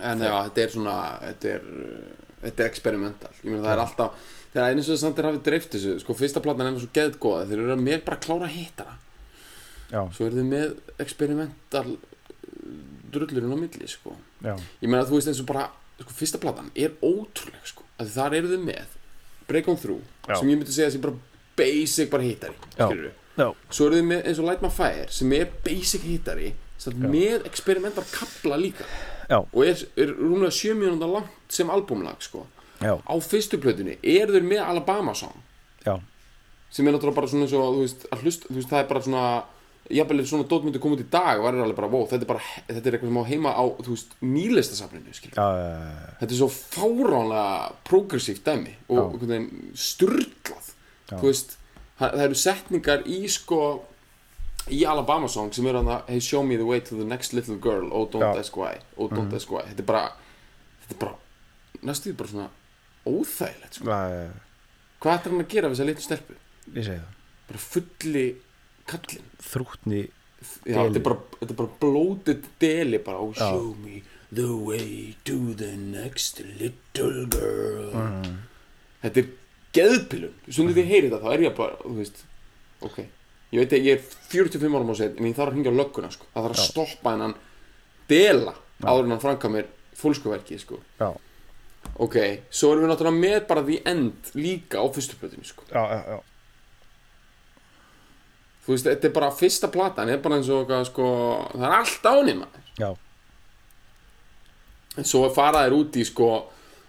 S3: en já, þetta er svona þetta er, uh, þetta er experimental ég meina það er alltaf, þegar eins og þess að þeir hafi dreift þessu, sko fyrsta platan er nú svo geðgóða þeir eru mér bara að klára að hitta það
S2: já,
S3: svo eru þið með experimental uh, drullurinn á milli sko
S2: já,
S3: ég meina þú veist eins og bara sko, fyrsta platan er ótrúleg sko að þar eru þið með Break on Through
S2: Já.
S3: sem ég myndi segja sem bara basic bara hittari
S2: Já.
S3: skilurðu.
S2: já,
S3: svo eru þið með eins og Light My Fire sem er basic hittari sem
S2: Já.
S3: er með experimental kapla líka
S2: já,
S3: og er, er rúmlega 7 mínúnda langt sem albumlag sko
S2: já,
S3: á fyrstu plötunni er þið með Alabama song
S2: já,
S3: sem er náttúrulega bara svona eins og þú veist, að hlust, þú veist það er bara svona jafnvel ef svona dót myndi koma út í dag var alveg bara, wow, þetta er bara þetta er eitthvað sem á heima á, þú veist, nýlistasafninu skilur.
S2: já, já,
S3: þetta er svo fáránlega progressíft dæmi og
S2: Já.
S3: einhvern veginn sturglað
S2: Já.
S3: þú veist, það, það eru setningar í sko í Alabama song sem eru hann að hey show me the way to the next little girl oh don't
S2: Já. Mhm.
S3: ask why, oh don't ask why þetta er bara, þetta er bara næstu því bara svona óþægilegt sko.
S2: já, já,
S3: hvað ætlar hann að gera við þessa litur stelpu
S2: ég segi það
S3: bara fulli kallinn
S2: þrútni,
S3: Já,
S2: Deli.
S3: þetta er bara, þetta er bara blótið deli bara, oh
S2: Já.
S3: show me The way to the next little girl
S2: Mm.
S3: Þetta er geðpilun Sundið þið heyrið þetta, þá er ég bara, þú veist Ok, ég veit að ég er 45 árum á set En ég þarf að hringja á lögguna, sko Það þarf að stoppa hennan Dela áður en hann franga mér fólkskuverki, sko
S2: já,
S3: Ok, svo erum við náttúrulega með bara The End líka á fyrstu plötunni, sko
S2: já, já, já.
S3: Þú veist, þetta er bara fyrsta platan er bara eins og eitthvað, sko Það er allt ánið maður
S2: já.
S3: En svo fara þær út í sko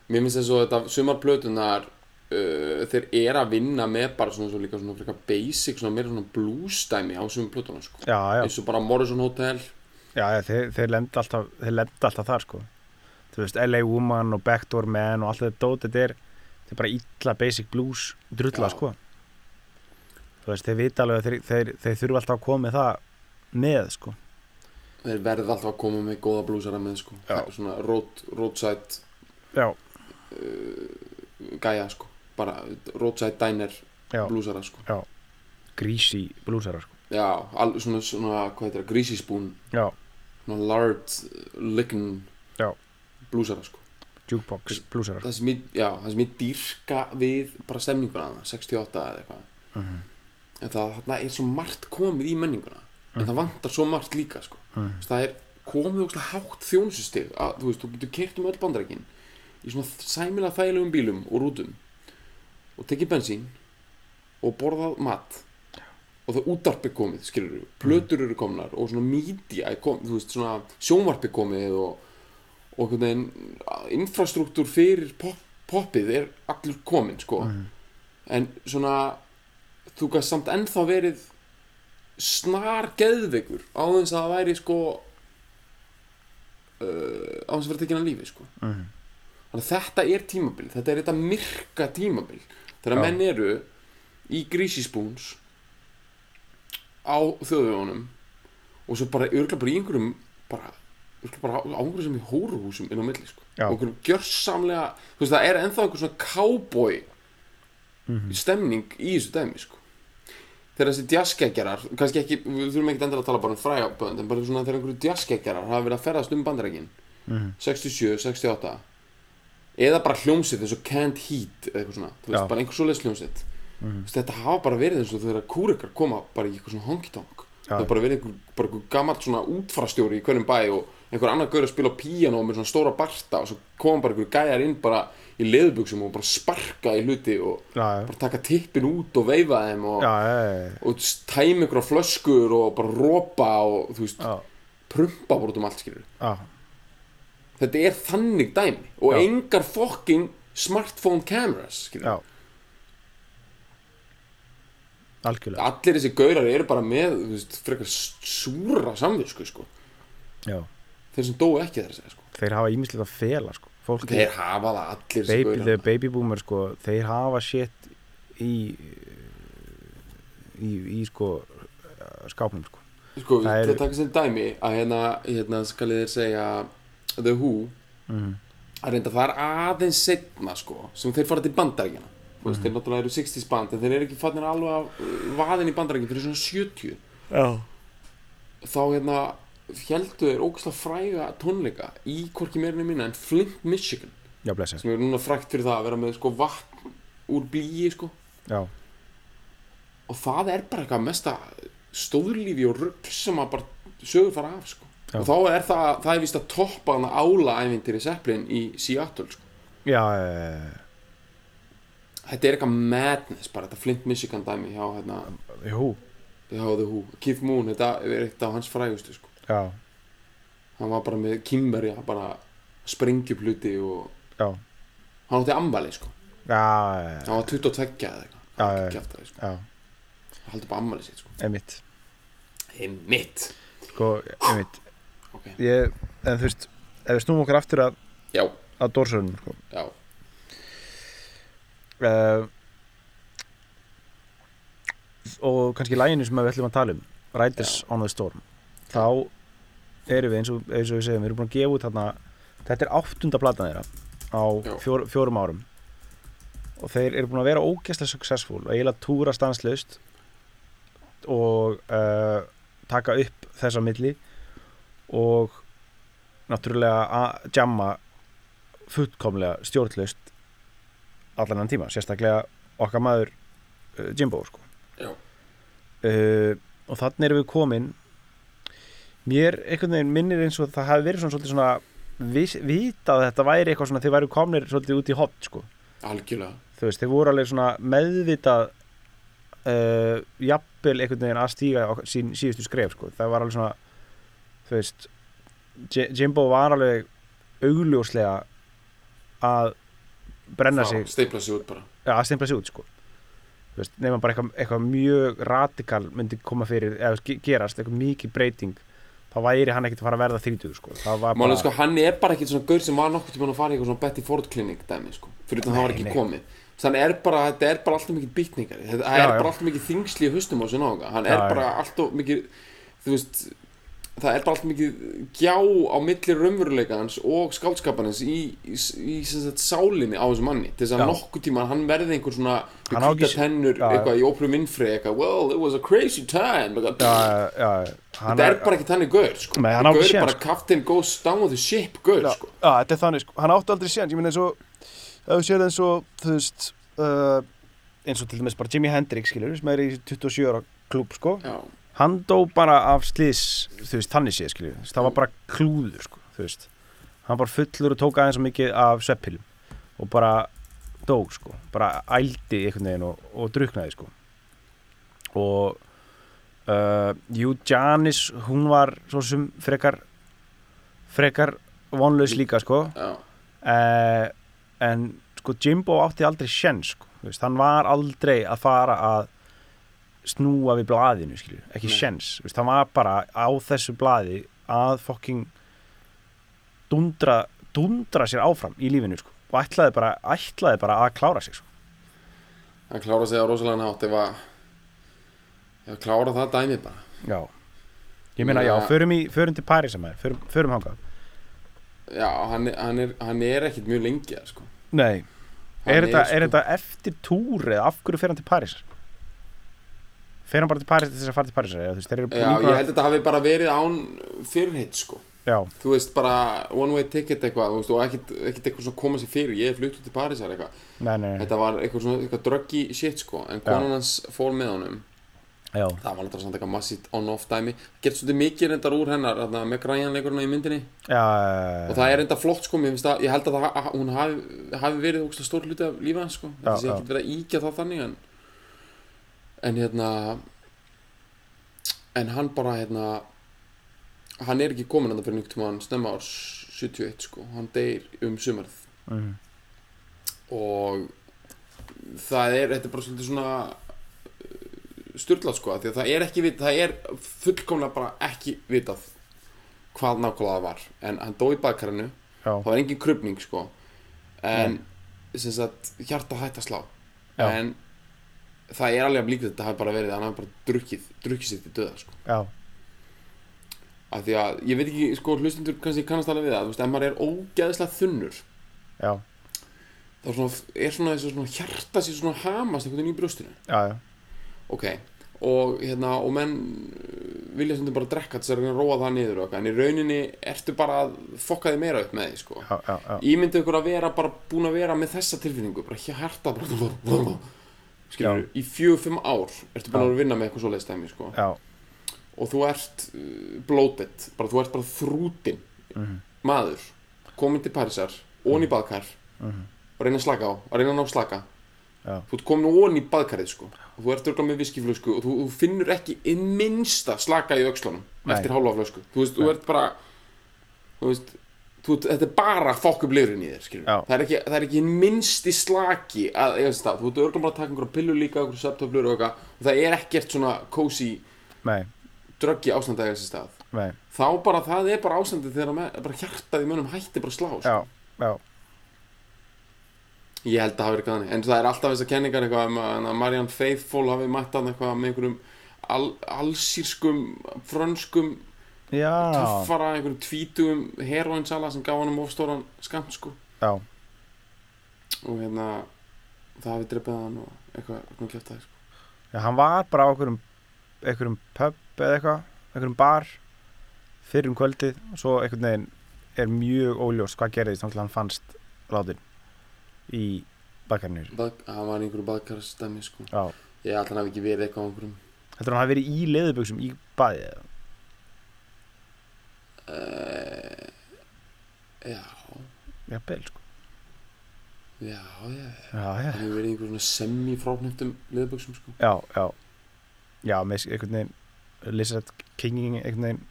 S3: Mér finnst þess að þetta sumar plötunar uh, Þeir eru að vinna með bara svona svo líka svona frekar basic Svona meira svona bluesdæmi á sumar plötunar sko
S2: já, já.
S3: Eins og bara Morrison Hotel
S2: Já, já, þeir, þeir lenda alltaf, þeir lenda alltaf þar sko Þú veist, LA Woman og Backdoor Man og allt þetta dót, þetta er þetta er bara illa basic blues drulla
S3: Já.
S2: sko Þú veist, þeir vita alveg að þeir, þeir, þeir þurfa alltaf að koma með það með sko
S3: Þeir verða alltaf að koma með góða bluesara með sko
S2: Já.
S3: Svona road, roadside
S2: Já,
S3: gæja sko Bara roadside diner
S2: já,
S3: bluesara sko
S2: greasy bluesara sko
S3: Já, al, svona, svona, hvað heitir það, greasy spoon
S2: Já,
S3: Svona lard, licken
S2: Já.
S3: Bluesara sko
S2: jukebox bluesara sko
S3: það sem ég, já, það sem ég dýrka við bara stemninguna þarna, 68 eða eitthvað en það þarna er svo margt komið í menninguna en það vantar svo margt líka sko.
S2: Mhm.
S3: Þess, það er komið ógeðslega hátt þjónsustig að þú veist, þú getur kert um öll bandarækin í svona sæmilega þægilegum bílum og rútum og tekið bensín og borðað mat og það útarp er komið, skilur við plötur eru komnar og svona mídía er komið, þú veist, svona sjónvarp er komið og og einhvern veginn að infrastruktúr fyrir pop, poppið er allur kominn sko en svona þú gæst samt ennþá verið snar geðveikur á þess að það væri sko uh, á þess að vera tekin að lífi sko
S2: Mhm.
S3: þannig að þetta er tímabil þetta er þetta myrka tímabil þegar
S2: Já.
S3: menn eru í grísispúns á þjóðvegunum og svo bara örgla bara í einhverjum bara, örgla bara á á einhverjum sem í hóruhúsum inn á milli sko.
S2: Já.
S3: og einhverjum gjörsamlega þú veist það er ennþá einhver svona cowboy
S2: Mhm.
S3: stemning í þessu dæmi sko. þegar þessi djaskækjarar kannski ekki, við þurfum ekkert endur að tala bara um fræjabönd en bara svona þegar einhverju djaskækjarar hafa verið að ferðast um bandarækin
S2: Mhm.
S3: 67, 68 eða bara hljómsið eins og Can't Heat eða eitthvað svona, þú veist,
S2: Já. Mhm.
S3: bara einhver svoleiðs hljómsið mm. þetta hafa bara verið eins og þegar kúrekar koma bara í eitthvað svona honky-tonk það er bara verið einhver, bara einhver gammalt svona útfarastjóri í hverjum bæ og einhver annar gaur að spila á píanó með svona stóra barta og svo koma bara einhver gæjar inn bara í leðubuxum og bara sparka í hluti og
S2: Já, já,
S3: bara taka tippin út og veifa þeim og,
S2: já, já, já,
S3: og tæmi einhverja flöskur og bara rópa og þú veist,
S2: já,
S3: prumpa bara út um allt skilur
S2: já,
S3: þetta er þannig dæmi og
S2: Já.
S3: engar fokking smartphone cameras skilur
S2: já Algjörlega,
S3: allir þessi gaurar eru bara með þú veist, frekar súra samvisku sko.
S2: já
S3: þeir sem dóu ekki þess að segja, sko.
S2: Þeir hafa ímislegt að fela sko Fólk
S3: þeir hafa það allir þessi
S2: baby,
S3: gaurar
S2: the baby boomer sko, þeir hafa shit í í, í sko skápnum sko
S3: sko,
S2: Það
S3: það
S2: eru-
S3: er... taka sem dæmi að hérna, hérna skal ég þér segja The Who að reynda það er aðeins setna sko, sem þeir fara til bandarækjana mm veist, þeir náttúrulega eru 60s band en þeir eru ekki fannir alveg af uh, vaðin í bandarækjana fyrir svona 70
S2: já,
S3: þá hérna fjöldu þeir ógæslega fræga tónleika í hvorki meirinu minna en Flint, Michigan
S2: já blessa
S3: sem er núna frægt fyrir það að vera með sko vatn úr blíi sko
S2: já,
S3: og það er bara eitthvað mesta stóðlífi og rugg sem að bara sögur fara af sko.
S2: Já.
S3: og þá er það, það er vist að toppa hana ála æfintir í Zeppelin í Seattle sko.
S2: já, já
S3: þetta er eitthvað madness bara þetta Flint Michigan dæmi hjá, hérna,
S2: jú,
S3: hjá The Who Keith Moon, þetta er eitt af hans frægustu sko.
S2: já,
S3: hann var bara með kýmverja bara sprengjupluti og
S2: já
S3: hann átti ammali sko.
S2: já, já,
S3: hann var 22 eða
S2: Já,
S3: eitthvað
S2: já,
S3: Hann
S2: já.
S3: ekki eftir það, sko.
S2: já,
S3: hann haldi bara ammali sitt sko.
S2: einmitt
S3: heimitt
S2: sko, einmitt
S3: okay.
S2: ég, en þú veist, ef við snúum okkur aftur að,
S3: já,
S2: að dórsörunum sko
S3: já,
S2: uh, og kannski læginu sem við ætlum að tala um Riders on the Storm þá erum við eins og, eins og við segjum við erum búin að gefa út þarna þetta er áttunda platan þeirra á
S3: Já.
S2: fjór, fjórum árum og þeir eru búin að vera ógeðslega successful og eiginlega túra stanslaust eh, og uh, taka upp þessa milli og náttúrulega að jamma fullkomlega stjórnlaust allan enn tíma, sérstaklega okkar maður uh, Jimbo sko.
S3: Já.
S2: uh, og þannig erum við komin mér einhvern veginn minnir eins og það hafi verið svona, svolítið svona vis- vitað að þetta væri eitthvað svona þið væri komnir svolítið út í hot sko.
S3: algjörlega
S2: þú veist, þeir voru alveg svona meðvitað uh, jafnvel einhvern veginn að stíga ok- sín síðustu skref, sko, það var alveg svona þú veist J- Jimbo var alveg augljóslega að brenna
S3: Fá-
S2: sig,
S3: Steypla sig út bara
S2: ja, að stimpla sig út, sko þú veist, nefnum bara eitthvað, eitthvað mjög radikal myndi koma fyrir, eða ge- gerast eitthvað mikið breyting, þá væri hann ekkert að fara að verða 30, sko, það var
S3: Málega
S2: bara
S3: sko, hann er bara ekkert svona gaur sem var nokkuð tíma að fara í eitthvað svona Betty Ford klinik dæmi sko, fyrir utan það var
S2: Nei,
S3: ekki
S2: nei.
S3: komið þannig er bara, þetta er bara alltaf mikið bytningar þetta
S2: Já,
S3: það er
S2: já.
S3: bara alltaf mikið þingsli í haustum á sér nága hann
S2: Já,
S3: er
S2: já.
S3: bara alltaf mikið þú veist, það er bara alltaf mikið gjá á milli raunveruleikans og skáldskapanins í, í, í, í sem sagt, sálinni á þessu manni til þess að
S2: Já.
S3: nokkuð tíma hann verði einhver svona
S2: Hann á
S3: hvíta
S2: ekki-
S3: tennur,
S2: Já, já.
S3: eitthvað í Oprah Winfrey eitthvað, well, it was a crazy time eitthvað,
S2: ja, ja, hann
S3: þetta er bara ekki þannig gaur sko.
S2: Nei, hann á ekki
S3: gaur
S2: séns,
S3: bara captain goes down with the ship gaur
S2: Já,
S3: sko.
S2: já, þetta er þannig sko, hann átti aldrei séns, ég meina eins og ef þú sér eins og, þú veist uh, eins og til dæmis bara Jimi Hendrix skilur, sem er í 27 ára klúb sko,
S3: Já,
S2: hann dó bara af slís, þú veist, þannig séð skilur þú veist, það var bara klúður sko, þú veist hann bara fullur og tók aðeins og mikið af sveppilum og bara dó sko, bara ældi einhvern veginn og, og druknaði sko og uh, jú, Janis, hún var svo sem frekar frekar vonlaus líka sko
S3: já,
S2: uh, en sko Jimbo átti aldrei sjenn sko, þú veist, hann var aldrei að fara að snúa við blaðinu skilju, ekki
S3: Nei.
S2: sjens þú veist, hann var bara á þessu blaði að fokking dundra, dundra sér áfram í lífinu sko, og ætlaði bara, ætlaði bara að klára sig sko.
S3: hann klára sig á rosalega nátt ef að ef að klára það dæmi bara
S2: já ég meina, já,
S3: Ja.
S2: förum, í, förum til Paris að maður, förum, förum hangað
S3: Já, hann, er- hann, er, hann er ekkit mjög lengi þar, sko.
S2: nei,
S3: Hann
S2: er þetta,
S3: sko,
S2: er þetta eftir túr eða af hverju fer hann til Paris fer hann bara til Paris til þess að fara til Paris eða, þú veist, þeir eru
S3: Já, ég held að þetta hafi bara verið án fyrirheit sko.
S2: já,
S3: þú veist bara one way ticket eitthvað þú veist, og ekkit, ekkit eitthvað svona koma sér fyrir ég er fluttur til Parísar eitthvað
S2: nei, nei, nei.
S3: þetta var eitthvað svona eitthvað druggy shit sko en konan hans fór með honum
S2: já,
S3: það var alltaf samt eitthvað massít on-off dæmi gert svolítið mikið reyndar úr hennar þarna, með grænleikurna í myndinni
S2: já
S3: og það er enda flott sko, mér finnst að ég held að það, að hún hafi, hafi verið ógstlega stór hluti af lífa hans sko, þetta sé
S2: já.
S3: ekki verið að íkja það þannig en, en hérna en hann bara hérna hann er ekki komin andan fyrir nýtt hann snemma árs 71 sko, hann deyr um sumarð
S2: mm.
S3: og það er, þetta er bara svolítið svona styrlað sko, af því að það er ekki vitað, það er fullkomlega bara ekki vitað hvað nákvæmlega það var, en hann dói í bakarinu
S2: já,
S3: það var engin krupning sko en sem sagt hjarta hætt að slá
S2: Já.
S3: en það er alveg að líka þetta hafi bara verið að hann hafi bara drukkið, drukkið sér til döða sko
S2: já,
S3: af því að ég veit ekki sko hlustendur kannski kannast alveg við það, þú veist, ef maður er ógeðslega þunnur
S2: já,
S3: þá svona, er svona þessu svona hjarta sér svona hamast einhvern veginn í brjóstinu
S2: já, já.
S3: ok og hérna og menn uh, vilja stundum bara drekka þess að reyna að róa það niður og eitthvað, en í rauninni ertu bara að fokka þig meira upp með því sko
S2: já, já, já.
S3: ímyndið ykkur að vera bara búin að vera með þessa tilfinningu bara hér herta bara skilur, í fjög-fimm ár ertu búin
S2: Já.
S3: að vera að vinna með eitthvað svoleiðis dæmi sko.
S2: já.
S3: og þú ert uh, blótið, bara þú ert bara þrútin
S2: Mhm.
S3: maður komin til Parísar, ón í baðkar og reyna að slaka á, að reyna að ná slaka
S2: Mhm. Já.
S3: þú ert komin ón í baðkarið sko. og þú ert örgulega með viskiflösku og þú, þú finnur ekki í minnsta slaka í aukslunum
S2: Nei.
S3: eftir hálfa flösku þú veist, þú ert bara þú veist, þú, þetta er bara fokk upp lifrin í þér skilur
S2: Já.
S3: það er ekki, það er ekki hinn minnsti slaki að eiga stað, þú ert örgulega bara að taka einhverja pillu líka, einhverja septöflur og eitthvað og það er ekkert svona cozy
S2: nei,
S3: dröggi ástand að eiga sér stað
S2: nei,
S3: þá bara, það er bara ástandið þegar með, bara hjartað í mönnum hætti bara að slá sko.
S2: já, já
S3: ég held að það hafi verið gæðan en það er alltaf þessar kenningar eitthvað um að að Marianne Faithful hafi mætt hann eitthvað með einhverjum al, allsýrskum frönskum
S2: já,
S3: töffara, einhverjum tvítugum heroinsala sem gaf hann um ofstóran skamt sko
S2: já,
S3: og hérna það hafi drefið hann og eitthvað svona kjöft það sko.
S2: já hann var bara á einhverjum einhverjum pub eða eitthvað einhverjum bar fyrir um kvöldið og svo einhvern veginn er mjög óljós hvað gerðist þannig að hann fannst látin í bakkarnir
S3: Bak, hann var í einhverju baðkarstæmi sko.
S2: Já.
S3: Ég ætla hann hafi ekki verið eitthvað á einhverjum
S2: Heldur hann hafi verið í leðuböksum í baði eða?
S3: uh, Já,
S2: Jafnvel sko
S3: já, já
S2: Já, já
S3: Hann hefur verið í einhverjum semifráknöptum liðböksum sko.
S2: Já, já Já, með einhvern veginn Lizard King einhvern veginn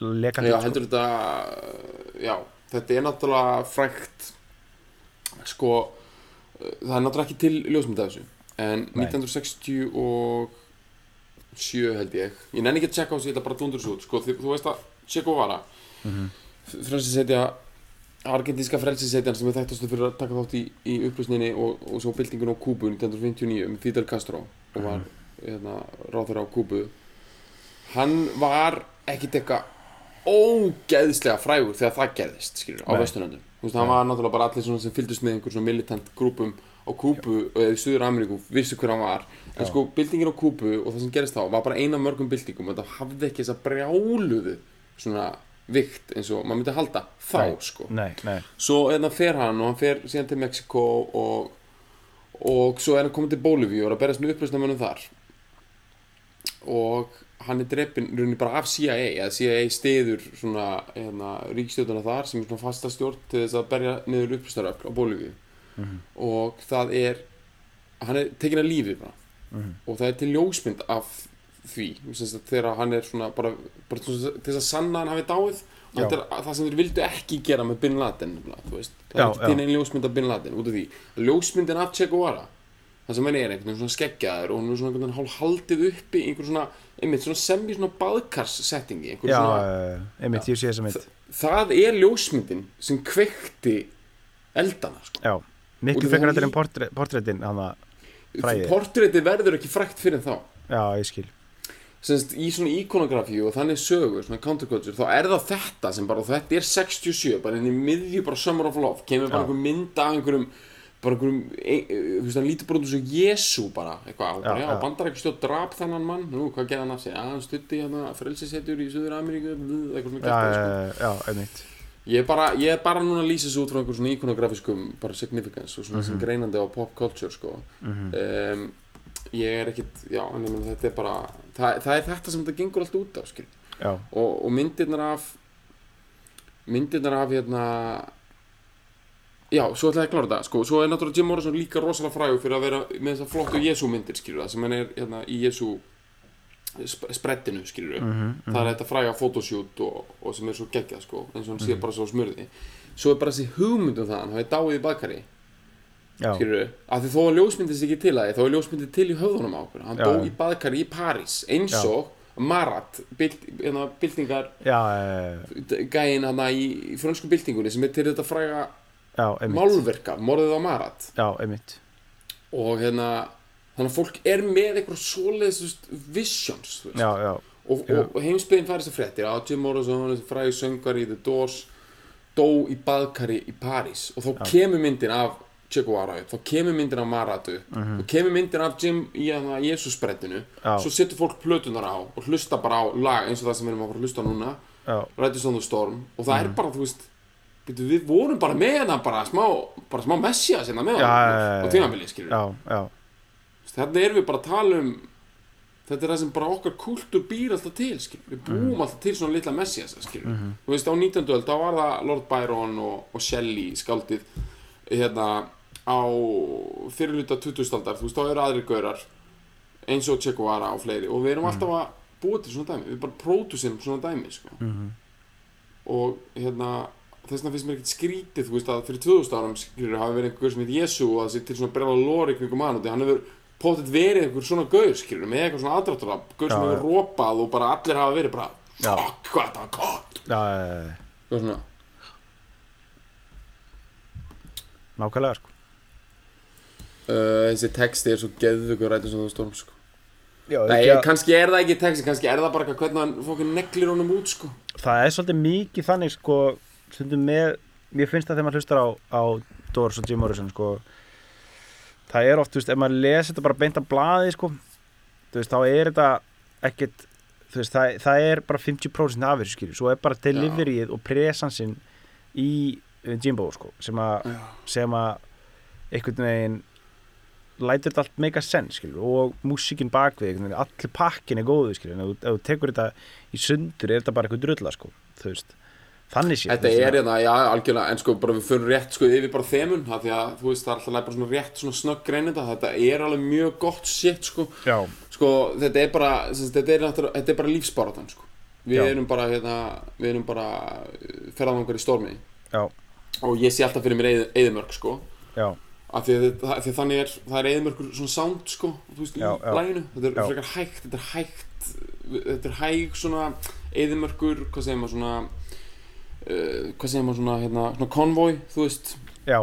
S2: lekandi
S3: Já,
S2: sko.
S3: heldur þetta Já, þetta er náttúrulega frækt Sko uh, Það er náttúrulega ekki til ljósmynd af þessu En
S2: Nei.
S3: 1967 held ég Ég nenni ekki að checka á þessu, ég ætla bara að dundur þessu út Sko, þið, þú veist að Checo Vara
S2: Mhm.
S3: frelsisetja argentinska frelsisetjan sem er þekktastu fyrir að taka þátt í, í upplýsninni og, og svo byltingun á Kúbu 1959 með Fidel Castro og var
S2: Mhm.
S3: hérna, ráður á Kúbu hann var ekkit eitthvað ógeðslega frægur þegar það gerðist skilur, á
S2: Nei.
S3: Vesturlöndum Þú veist, hann var náttúrulega bara allir svona sem fylgdust með einhver svona militant grúpum á Kúbu eða í Suður Ameríku, vissu hver hann var en
S2: Já.
S3: sko, byltingin á Kúbu og það sem gerist þá var bara eina af mörgum byltingum og það hafði ekki þessa brjáluðu svona vikt eins og maður myndi halda þá
S2: Nei.
S3: sko
S2: Nei, nei
S3: svo hérna fer hann og hann fer síðan til Mexiko og, og svo er hann komin til Bolívíu og er að berjast með upplýstamönnum þar og hann er drepinn runni bara af CIA eða CIA stiður svona hérna, ríkstjórnuna þar sem er svona fasta stjórn til þess að berja niður upplýstaröfl á Bolívíu
S2: Mhm.
S3: og það er hann er tekin að lífi bara
S2: Mhm.
S3: og það er til ljósmynd af því sem sagt, þegar hann er svona bara, bara svona til þess að sanna að hann hafi dáið og
S2: Já.
S3: þetta er það sem þeir vildu ekki gera með Bin Laden nefnilega, þú veist, það
S2: Já,
S3: er ekki til
S2: já.
S3: einn ljósmynd af Bin Laden út af því, ljósmyndin af Che Guevara það sem hann er einhvern veginn svona skeggjaður og hann er svona einhvern veginn hálf haldið uppi í einhver svona, einmitt svona sem í svona baðkars settingi, einhver
S2: Já,
S3: Sko, svona
S2: eh, einmitt, ég sé þessa mynd
S3: það er ljósmyndin sem kveikti eldana, sko
S2: Já,
S3: Út
S2: miklu
S3: af
S2: frekar
S3: því-
S2: þetta en portre- portrettin hann að, Fræið.
S3: portrétið verður ekki frækt fyrir þá
S2: já, ég skil
S3: semst í svona íkonografíu og þannig sögur, svona counterculture, þá er það þetta sem bara, og þetta er 67, bara inn í miðju bara Summer of Love, kemur bara
S2: Já.
S3: einhver mynd af einhverjum, bara einhverjum, ein, þú veist, hann lítur bara út eins og Jésu bara, eitthvað, og bara,
S2: Já,
S3: já,
S2: já.
S3: bandar ekki stjórn drap þennan mann, nú, hvað gerði hann af sig, já, hann stutti hérna frelsisetjur í Suður Ameríku, eitthvað svona
S2: Já,
S3: kæftið, sko.
S2: eh, já, einmitt
S3: Ég er bara, ég er bara núna að lýsa þessu út frá einhver svona ikonografiskum bara significance og svona sem greinandi á pop culture sko. um, ég er ekkit, já, en ég meina þetta er bara það, það er þetta sem þetta gengur allt út á skil.
S2: Já,
S3: og, og myndirnar af myndirnar af hérna já, svo ætla ég að klára þetta sko, svo er náttúrulega Jim Morrison líka rosalega frægur fyrir að vera með þessar flottu Jésu myndir skilur það sem hann er hérna í Jésu sp sprettinu skilur
S2: mhm, mhm
S3: það er þetta fræga fotoshoot og, og sem er svo geggjað sko, eins og hann
S2: Mhm.
S3: sé bara svo á smurði svo er bara þessi hugmynd um það hann hafi dáið í bakari,
S2: Já,
S3: skilur að því þó að ljósmyndið sé ekki til að því, þá er ljósmyndið til í höfðunum á okkur hann
S2: Já.
S3: dó í bakari í París, eins
S2: Já.
S3: og Marat, byld, hérna, byltingar
S2: já, eh,
S3: gæin hana í, í frönsku byltingunni sem er til þetta fræga
S2: já, einmitt
S3: málverka, morðið á Marat
S2: Já, einmitt
S3: og hérna þannig að fólk er með eitthvað svoleiðis þú veist, visions þú veist.
S2: Já, já,
S3: og,
S2: Já.
S3: og, og heimsbyggðin færi sér fréttir að Jim Morrison, þessi fræði söngari í The Doors dó í baðkari í París og þá kemur myndin af Che Guevara upp, þá kemur myndin af Marat upp þá kemur myndin af Jim í Jésusbrettinu,
S2: Mhm. Já.
S3: svo setur fólk plötunar á og hlusta bara á lag eins og það sem við erum að fara að hlusta á núna
S2: já
S3: Riders on the um Storm og
S2: Mhm.
S3: það er bara, þú veist byrju, við vorum bara með hann bara smá, bara smá messja sinna með
S2: Já, já,
S3: hann
S2: já,
S3: og
S2: já.
S3: tímabilið skilur
S2: Já, já,
S3: Þarna erum við bara að tala um Þetta er það sem bara okkar kultúr býr alltaf til skil. Við búum
S2: Mhm.
S3: alltaf til svona litla messias skil. Þú veist á 19. öld þá var það Lord Byron og, og Shelley skáldið hérna á fyrirluta 20. aldar þú veist þá eru aðrir gaurar eins og Che Guevara og fleiri og
S2: Mhm.
S3: við erum alltaf að búa til svona dæmi, við bara pródusum svona dæmi sko.
S2: Mhm.
S3: og hérna þess vegna finnst mér ekkert skrítið þú veist að fyrir 2000 árum skilur hafi verið einhver gaur sem heit Jésu og það sé til svona breyla lóri kringum hann og því hann hefur potið verið einhver svona gaur skilur með eitthvað svona aðdráttur gaur sem
S2: Já,
S3: hefur rópað og bara allir hafa verið bara
S2: Já.
S3: fuck hvað það var gott
S2: já, eh,
S3: og svona
S2: nákvæmlega sko
S3: uh, þessi texti er svo geðvöku rætið sem þú storm sko
S2: Já,
S3: Nei,
S2: ekki að-
S3: kannski er það ekki texti, kannski er það bara eitthvað hvernig hann fókin neglir honum út sko
S2: það er svolítið mikið þannig sko stundum með, ég finnst það þegar maður hlustar á, á Doors og Jim Morrison sko það er oft, þú veist, ef maður les þetta bara beint af blaði sko, þú veist, þá er þetta ekkit þú veist, það, það er bara 50% af þessu skilju, svo er bara deliveryið og presansinn í uh, Jimbo sko, sem að
S3: Já.
S2: sem að einhvern veginn lætur þetta allt meika sens skilur, og músíkin bakvið, einhvern veginn, allir pakkin er góðu skilur, en ef þú- ef þú tekur þetta í sundur er þetta bara eitthvað drulla sko, þú veist, þannig sé
S3: Þetta er hérna, já, algjörlega, en sko bara við förum rétt sko yfir bara þemun, það því að þú veist það er alltaf bara svona rétt svona snögg greinenda, þetta er alveg mjög gott shit sko,
S2: já,
S3: sko þetta er bara, sem sagt, þetta er náttúrulega, þetta er bara lífsbaratan sko, við
S2: Já.
S3: erum bara hérna, við erum bara uh, ferðangangar í stormi
S2: já,
S3: og ég sé alltaf fyrir mér eðimörk sko,
S2: já,
S3: af því að, þetta- af því að þannig er, það er eðimörkur svona sound sko, þú veist,
S2: Já,
S3: í
S2: já.
S3: læginu, þetta er
S2: Já.
S3: frekar hægt, þetta er hægt, þetta er hæg svona eðimörkur, hvað segir maður svona, uh, hvað segir maður svona, hérna, svona konvói, þú veist,
S2: já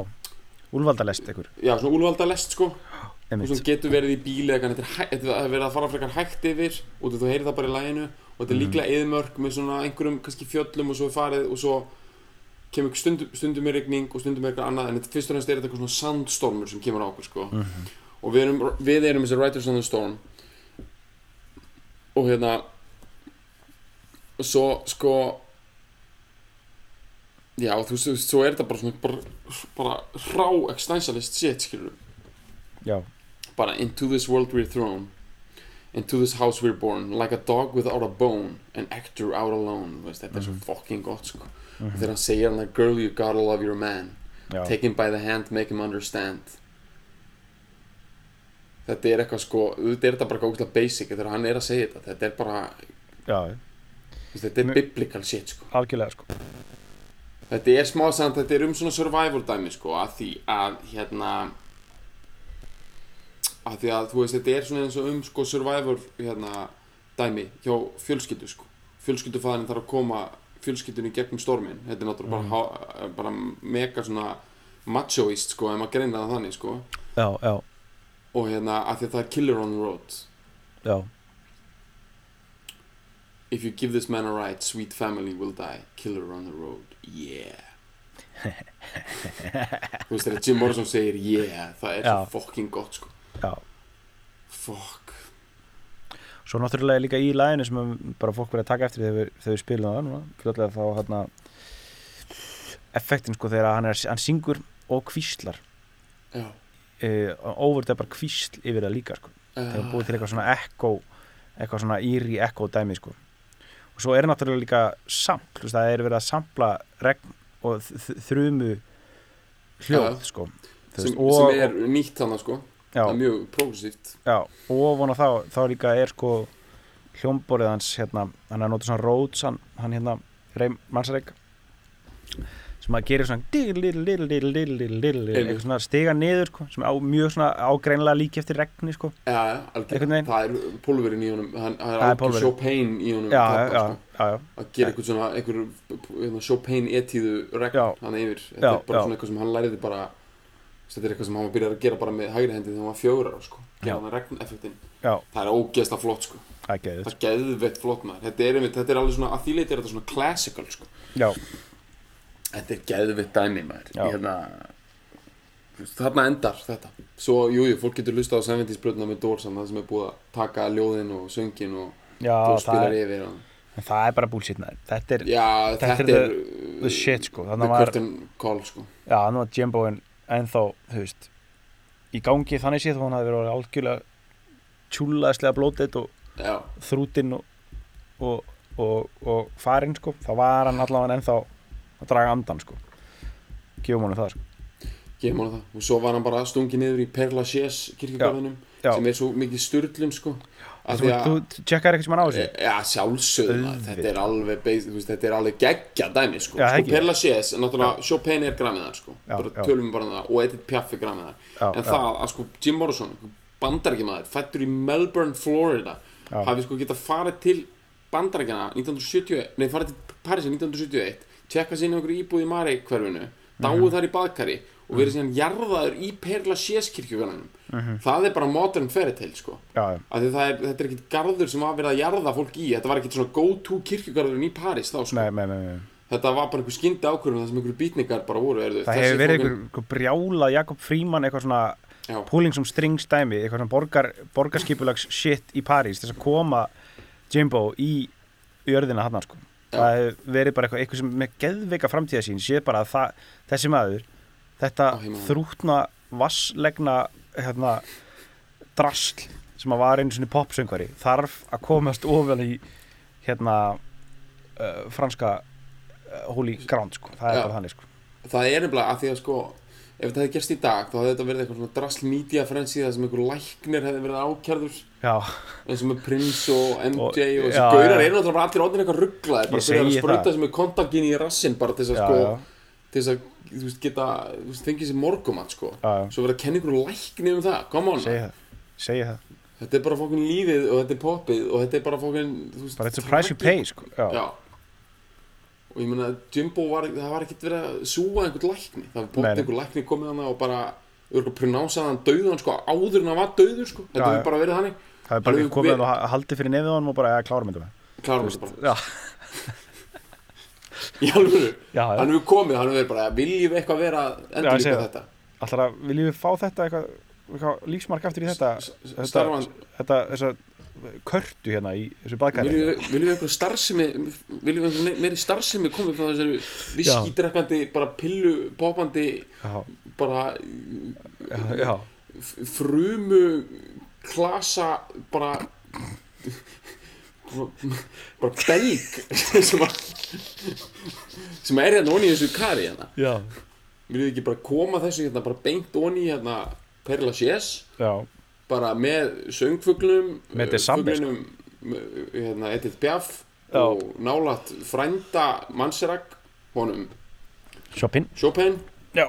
S2: úlvaldalest ykkur,
S3: já, svona úlvaldalest sko, þú
S2: einmitt
S3: veist, getur verið í bíli eða þetta er hæ- þetta er verið að fara frekar hægt yfir og þú heyrir það bara í læginu og þetta er líklega eðimörk með svona einhverjum kannski fjöllum og svo er farið og svo kemur stundum, stundum er rigning og stundum er eitthvað annað en þetta fyrst og fremst er þetta eitthvað svona sandstormur sem kemur á okkur sko og við erum, við erum þessi Riders on the Storm og hérna og svo sko já þú veist, þú veist, svo er þetta bara svona bara, bara hrá existentialist shit skilur
S2: já,
S3: bara into this world we're thrown into this house we're born like a dog without a bone an actor out alone Þú veist, þetta er svo fucking gott sko. mm þegar hann segir hann like girl you gotta love your man
S2: já,
S3: take him by the hand make him understand þetta er eitthvað sko þetta er þetta bara góðslega basic þegar hann er að segja þetta þetta er bara
S2: já
S3: þú veist, þetta er
S2: Mér-
S3: biblical shit sko.
S2: algjörlega sko,
S3: Þetta er smá samt, þetta er um svona survival dæmi sko, að því að hérna að því að þú veist, þetta er svona eins og um sko survival hérna dæmi hjá fjölskyldu sko fjölskyldufæðin þarf að koma fjölskyldunni í gegnum stormin, þetta er náttúrulega bara, há- eh, bara mega svona machoist sko, ef maður greina það þannig sko
S2: já, já,
S3: og hérna, að því að það er killer on the road
S2: já
S3: if you give this man a ride, sweet family will die killer on the road, yeah þú veist þegar Jim Morrison segir yeah, það er
S2: Já.
S3: svo fucking gott sko.
S2: já,
S3: fuck
S2: svo náttúrulega líka í læginu sem bara fólk verið að taka eftir þegar við, þegar við spilum það núna fljótlega þá hérna effektin sko þegar hann, er, hann syngur og kvíslar
S3: já,
S2: uh, overdeppar kvísl yfir það líka sko. það
S3: Eh,
S2: er búið til eitthvað svona echo eitthvað svona íri echo dæmi sko. og svo er náttúrulega líka sampl, það er verið að sampla regn og þ- þ- þrumu hljóð
S3: Já.
S2: sko. Þú
S3: sem,
S2: veist, og,
S3: sem er nýtt þannig sko
S2: já,
S3: það er mjög progressíft
S2: já, og ofan á þá þá líka er sko hljómborið hans hérna, hann er að nota svona Rhodes hann, hann hérna, Reym Mansareik sem að gera svona dil-dil-dil-dil-dil-dil-dil
S3: Einmitt.
S2: eitthvað svona stiga niður sko, sem á mjög svona ágreinlega líki eftir regni sko.
S3: já, já,
S2: Einhvern
S3: algjörn,
S2: veginn.
S3: það er pólverin í honum hann, það er
S2: Það er
S3: algjör
S2: pólverinn.
S3: Chopin í honum
S2: já,
S3: þarna,
S2: já,
S3: sko.
S2: já, já,
S3: að gera eitthvað svona einhver, hérna, Chopin etíðu regn
S2: Já.
S3: hann yfir, þetta
S2: Já,
S3: er bara
S2: já.
S3: svona eitthvað sem hann læriði bara þetta er eitthvað sem hann var byrjað að gera bara með hægri hendi þegar hann var fjögur ára sko,
S2: Já.
S3: gera hann regneffektin
S2: já,
S3: það er ógeðslega flott sko,
S2: það er geðið
S3: það er geðveitt flott maður þetta er, einmitt, þetta er alveg svona, að því leiti er þetta svona classical sko
S2: já,
S3: Þetta er geðvitt dæmi maður
S2: Já.
S3: hérna, þú veist, Þarna endar þetta Svo, jújú, jú, fólk getur hlusta á 70s brötna með Doors Það sem er búið að taka ljóðin og söngin og
S2: já
S3: þú
S2: það,
S3: spilar
S2: er,
S3: yfir og...
S2: en það er bara bullshit maður. þetta er,
S3: Já,
S2: Þetta
S3: þetta,
S2: er
S3: er
S2: the shit sko
S3: The
S2: þannig var,
S3: curtain call, sko
S2: já, þannig var Jimboin ennþá, þú veist í gangi þannig séð þó hann hafði verið orðinn algjörlega tjúlaðslega blótið og
S3: Já,
S2: þrútinn og, og, og, og farinn sko, þá var hann allavega ennþá að draga andan sko gefum honum það sko
S3: gefum hann það Og svo var hann bara stungið niður í Perla Sjés kirkjugarðinum
S2: Já.
S3: Sem er svo mikið sturlun, sko Af
S2: þú,
S3: því að-
S2: þú tjekkar eitthvað sem hann á þessu
S3: Já, sjálfsögðum að þetta er alveg beis, þú veist, þetta er alveg geggja dæmi sko.
S2: Já,
S3: sko,
S2: ekki.
S3: Perla CS, náttúrulega Chopin er græmiðar sko.
S2: Já,
S3: bara
S2: já.
S3: tölum við bara um það og Edith Piaf er græmiðar
S2: Já,
S3: en
S2: já.
S3: það að sko Jim Morrison bandarækjamaður, fættur í Melbourne, Florida
S2: Já.
S3: hafi sko getað farið til bandarækjana 1971 nei, farið til París 1971 tjekka sinni okkur íbúð í Mari hverfinu
S2: Mhm.
S3: dáið þar í baðkari og verið síðan jarðaður í Perla CS kirkjugarðanum
S2: Mhm.
S3: það er bara modern fairy tale sko
S2: já, já,
S3: að það er, þetta er ekkit garður sem var verið að jarða fólk í þetta var ekkit svona go to kirkjugarðurinn í París þá sko,
S2: nei, nei, nei, nei.
S3: þetta var bara einhver skyndi ákvörðum þar sem einhverju býtningar bara voru erðu,
S2: það hefur verið einhver, einhver brjála Jakob Fríman eitthvað svona
S3: já,
S2: pulling some strings dæmi eitthvað svona borgar, borgarskipulags shit í París til þess að koma Jimbo í jörðina hann sko. það hefur verið bara eitthvað, eitthvað sem með geðveika framtíðasín sé bara að það, þessi maður þetta
S3: Á heimavelli.
S2: þrútna vasslegna hérna, drasl sem að var einu svona popsöngvari þarf að komast ofvel í hérna uh, franska uh, holy ground sko. það er
S3: Já.
S2: bara þannig sko.
S3: það er nefnilega að því að sko ef þetta hefði gerst í dag þá hefði þetta verið eitthvað svona drasl media frensi þar sem einhver læknir hefði verið ákjærður
S2: já,
S3: eins og með Prince og MJ og,
S2: Og-
S3: þessi
S2: já,
S3: gaurar
S2: já.
S3: eru náttúrulega bara allir orðin eitthvað rugglaðir bara
S2: Ég
S3: fyrir að
S2: segi
S3: sprauta
S2: það.
S3: sem er kontaktin í rassinn bara til þess
S2: já,
S3: að sko
S2: já,
S3: til þess að þú veist, geta þú veist, fengið sér morgumat sko
S2: já, já.
S3: svo verið að kenna ykkur lækni um það, come on
S2: segi það segi það,
S3: þetta er bara fókin lífið og þetta er poppið og þetta er bara fókin
S2: bara it's a price you pay sko. já,
S3: já. og ég meina Jumbo var, það var ekkert verið að súa einhvern lækni það var bótt
S2: Nei, nei.
S3: einhvern lækni komið hana og bara örgulega pronánsaði hann dauðan sko áður en hann var dauður sko þetta
S2: Já,
S3: hefur
S2: já.
S3: bara verið þannig
S2: það er bara
S3: Alveg
S2: við komið
S3: við-
S2: við... og haldið fyrir nefið á hann og bara ja, klárum þetta með
S3: klárum þetta bara
S2: já,
S3: í alvöru
S2: já, já.
S3: hann hefur komið hann hefur verið bara viljum við eitthvað vera endur
S2: ég segi
S3: líka
S2: það.
S3: þetta
S2: Alltaf að viljum við fá þetta eitthvað, eitthvað lífsmark aftur í þetta, þetta
S3: starfan
S2: þetta þessa körtu hérna í þessu baðkari
S3: viljum við- viljum við eitthvað starfsemi viljum við eitthvað meiri starfsemi komið frá þessari viskítrekkandi bara pillu popandi
S2: já,
S3: bara
S2: já, já,
S3: f- frumu klasa bara bara- bara belg sem að sem er hérna onni í þessu kari hérna
S2: já,
S3: viljum við ekki bara koma þessu hérna bara beint onni í hérna Perla Sjess
S2: já,
S3: bara með söngfuglum
S2: Með Desambe,
S3: hérna Edith Piaf
S2: sko. Já.
S3: og nálat frænda Manserak honum
S2: shopping
S3: Chopin
S2: Já.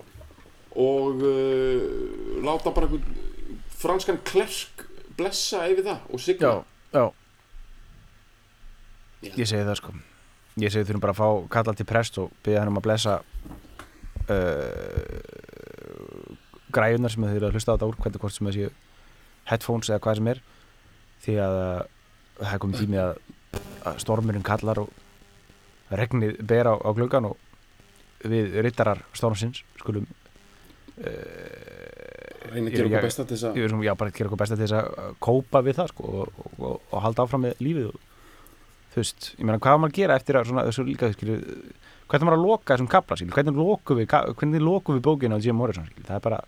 S3: og uh, láta bara einhvern franskan klerk blessa yfir það og signa
S2: já,
S3: Já.
S2: ég segi það sko ég segi við þurfum bara að fá kalla til prest og byggja hann um að blessa uh, græjunar sem þau eru að hlusta á þetta úr hvernig hvort sem þau séu headphones eða hvað sem er því að uh, það er komið tími að, að stormurinn kallar og regnið ber á, á gluggan og við rittarar stormsins skulum
S3: reyna
S2: Ég-
S3: að
S2: ég-
S3: gera okkur besta til þess að
S2: við erum, já, bara gera okkur besta til þess að uh, kópa við það sko, og, og, og, og halda áfram með lífið og, þú veist, ég meina hvað á maður að gera eftir að svona, þessu líka, skilju hvernig á maður að loka þessum kapla, skilju, hvernig lokum við ka- hvernig lokum við bókinu á Jim Morrison skilju, það er bara,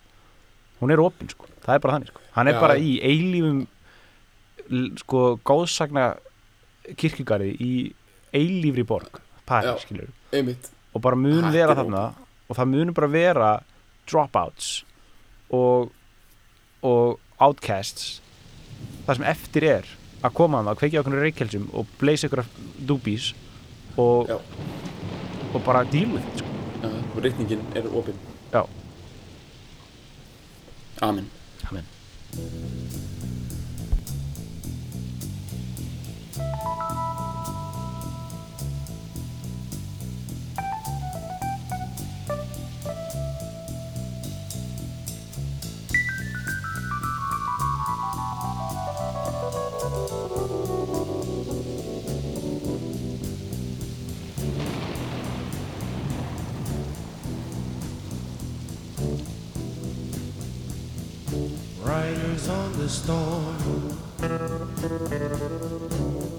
S2: hún er opin sko það er bara þannig sko, hann er
S3: Já,
S2: bara
S3: já.
S2: í eilífum l- sko góðsagna kirkjugarði í eilífri borg Paris,
S3: Já.
S2: skilju,
S3: einmitt
S2: og bara mun
S3: Hættir
S2: vera
S3: nú.
S2: þarna og það mun bara vera dropouts og, og outcasts það sem eftir er að koma hann að kveikja okkur reykjelsum og bleysa ykkur dúbís og,
S3: Já.
S2: og bara deal with it sko.
S3: uh, reikningin er opinn
S2: Já.
S3: Amen
S2: Amen.
S4: Riders on the storm.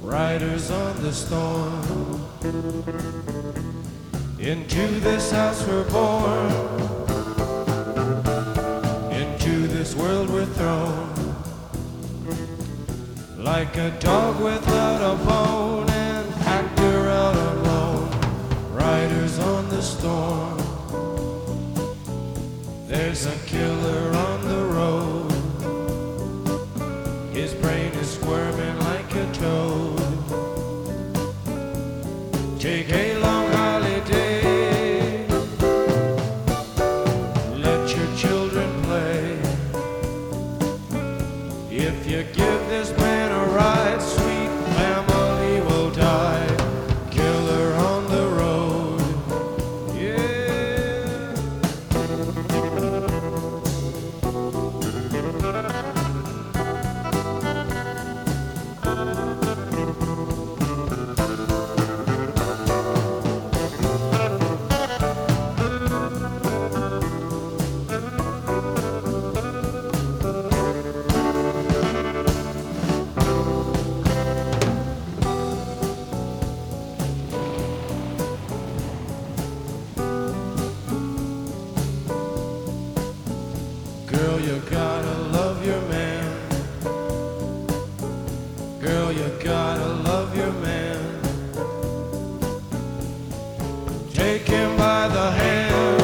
S4: Riders on the storm. Into this house we're born. Into this world we're thrown. Like a dog without a bone, an actor out alone. Riders on the storm. There's a killer on the road. His brain is squirming like a toad. Take a long holiday. Let your children play. If you give this man a ride, sweet family will die. Killer on the road. Yeah. Take him by the hand.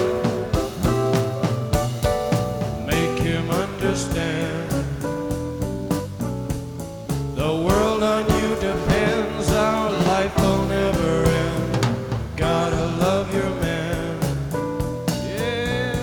S4: Make him understand. The world on you depends. Our life will never end. Gotta love your man. Yeah.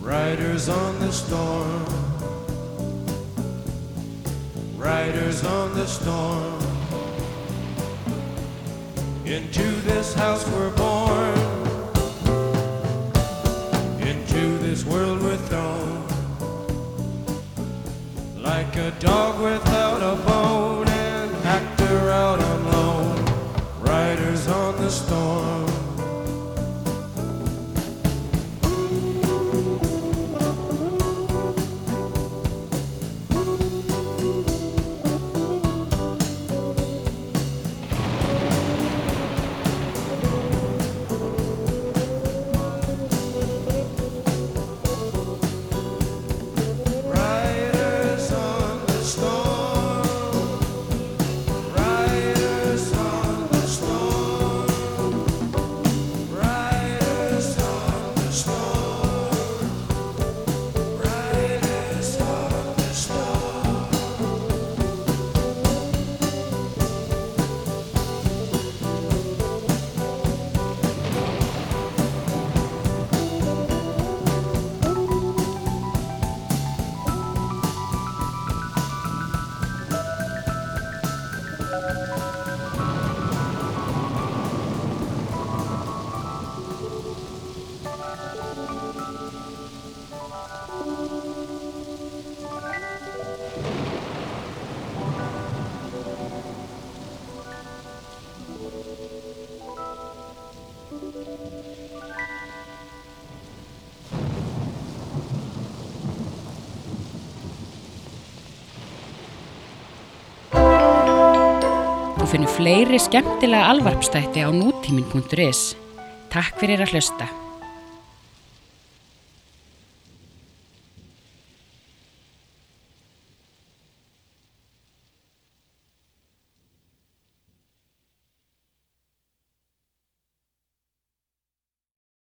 S4: Riders on the storm. Riders on the storm. Into this house we're born. Into this world we're thrown. Like a dog without a bone, an actor out on loan. Riders on the storm. Riders on the storm. Riders on the storm. Riders on the storm. Riders on the storm.
S1: Þú finnir fleiri skemmtilega alvarpstætti á nútímin.is. Takk fyrir að hlusta.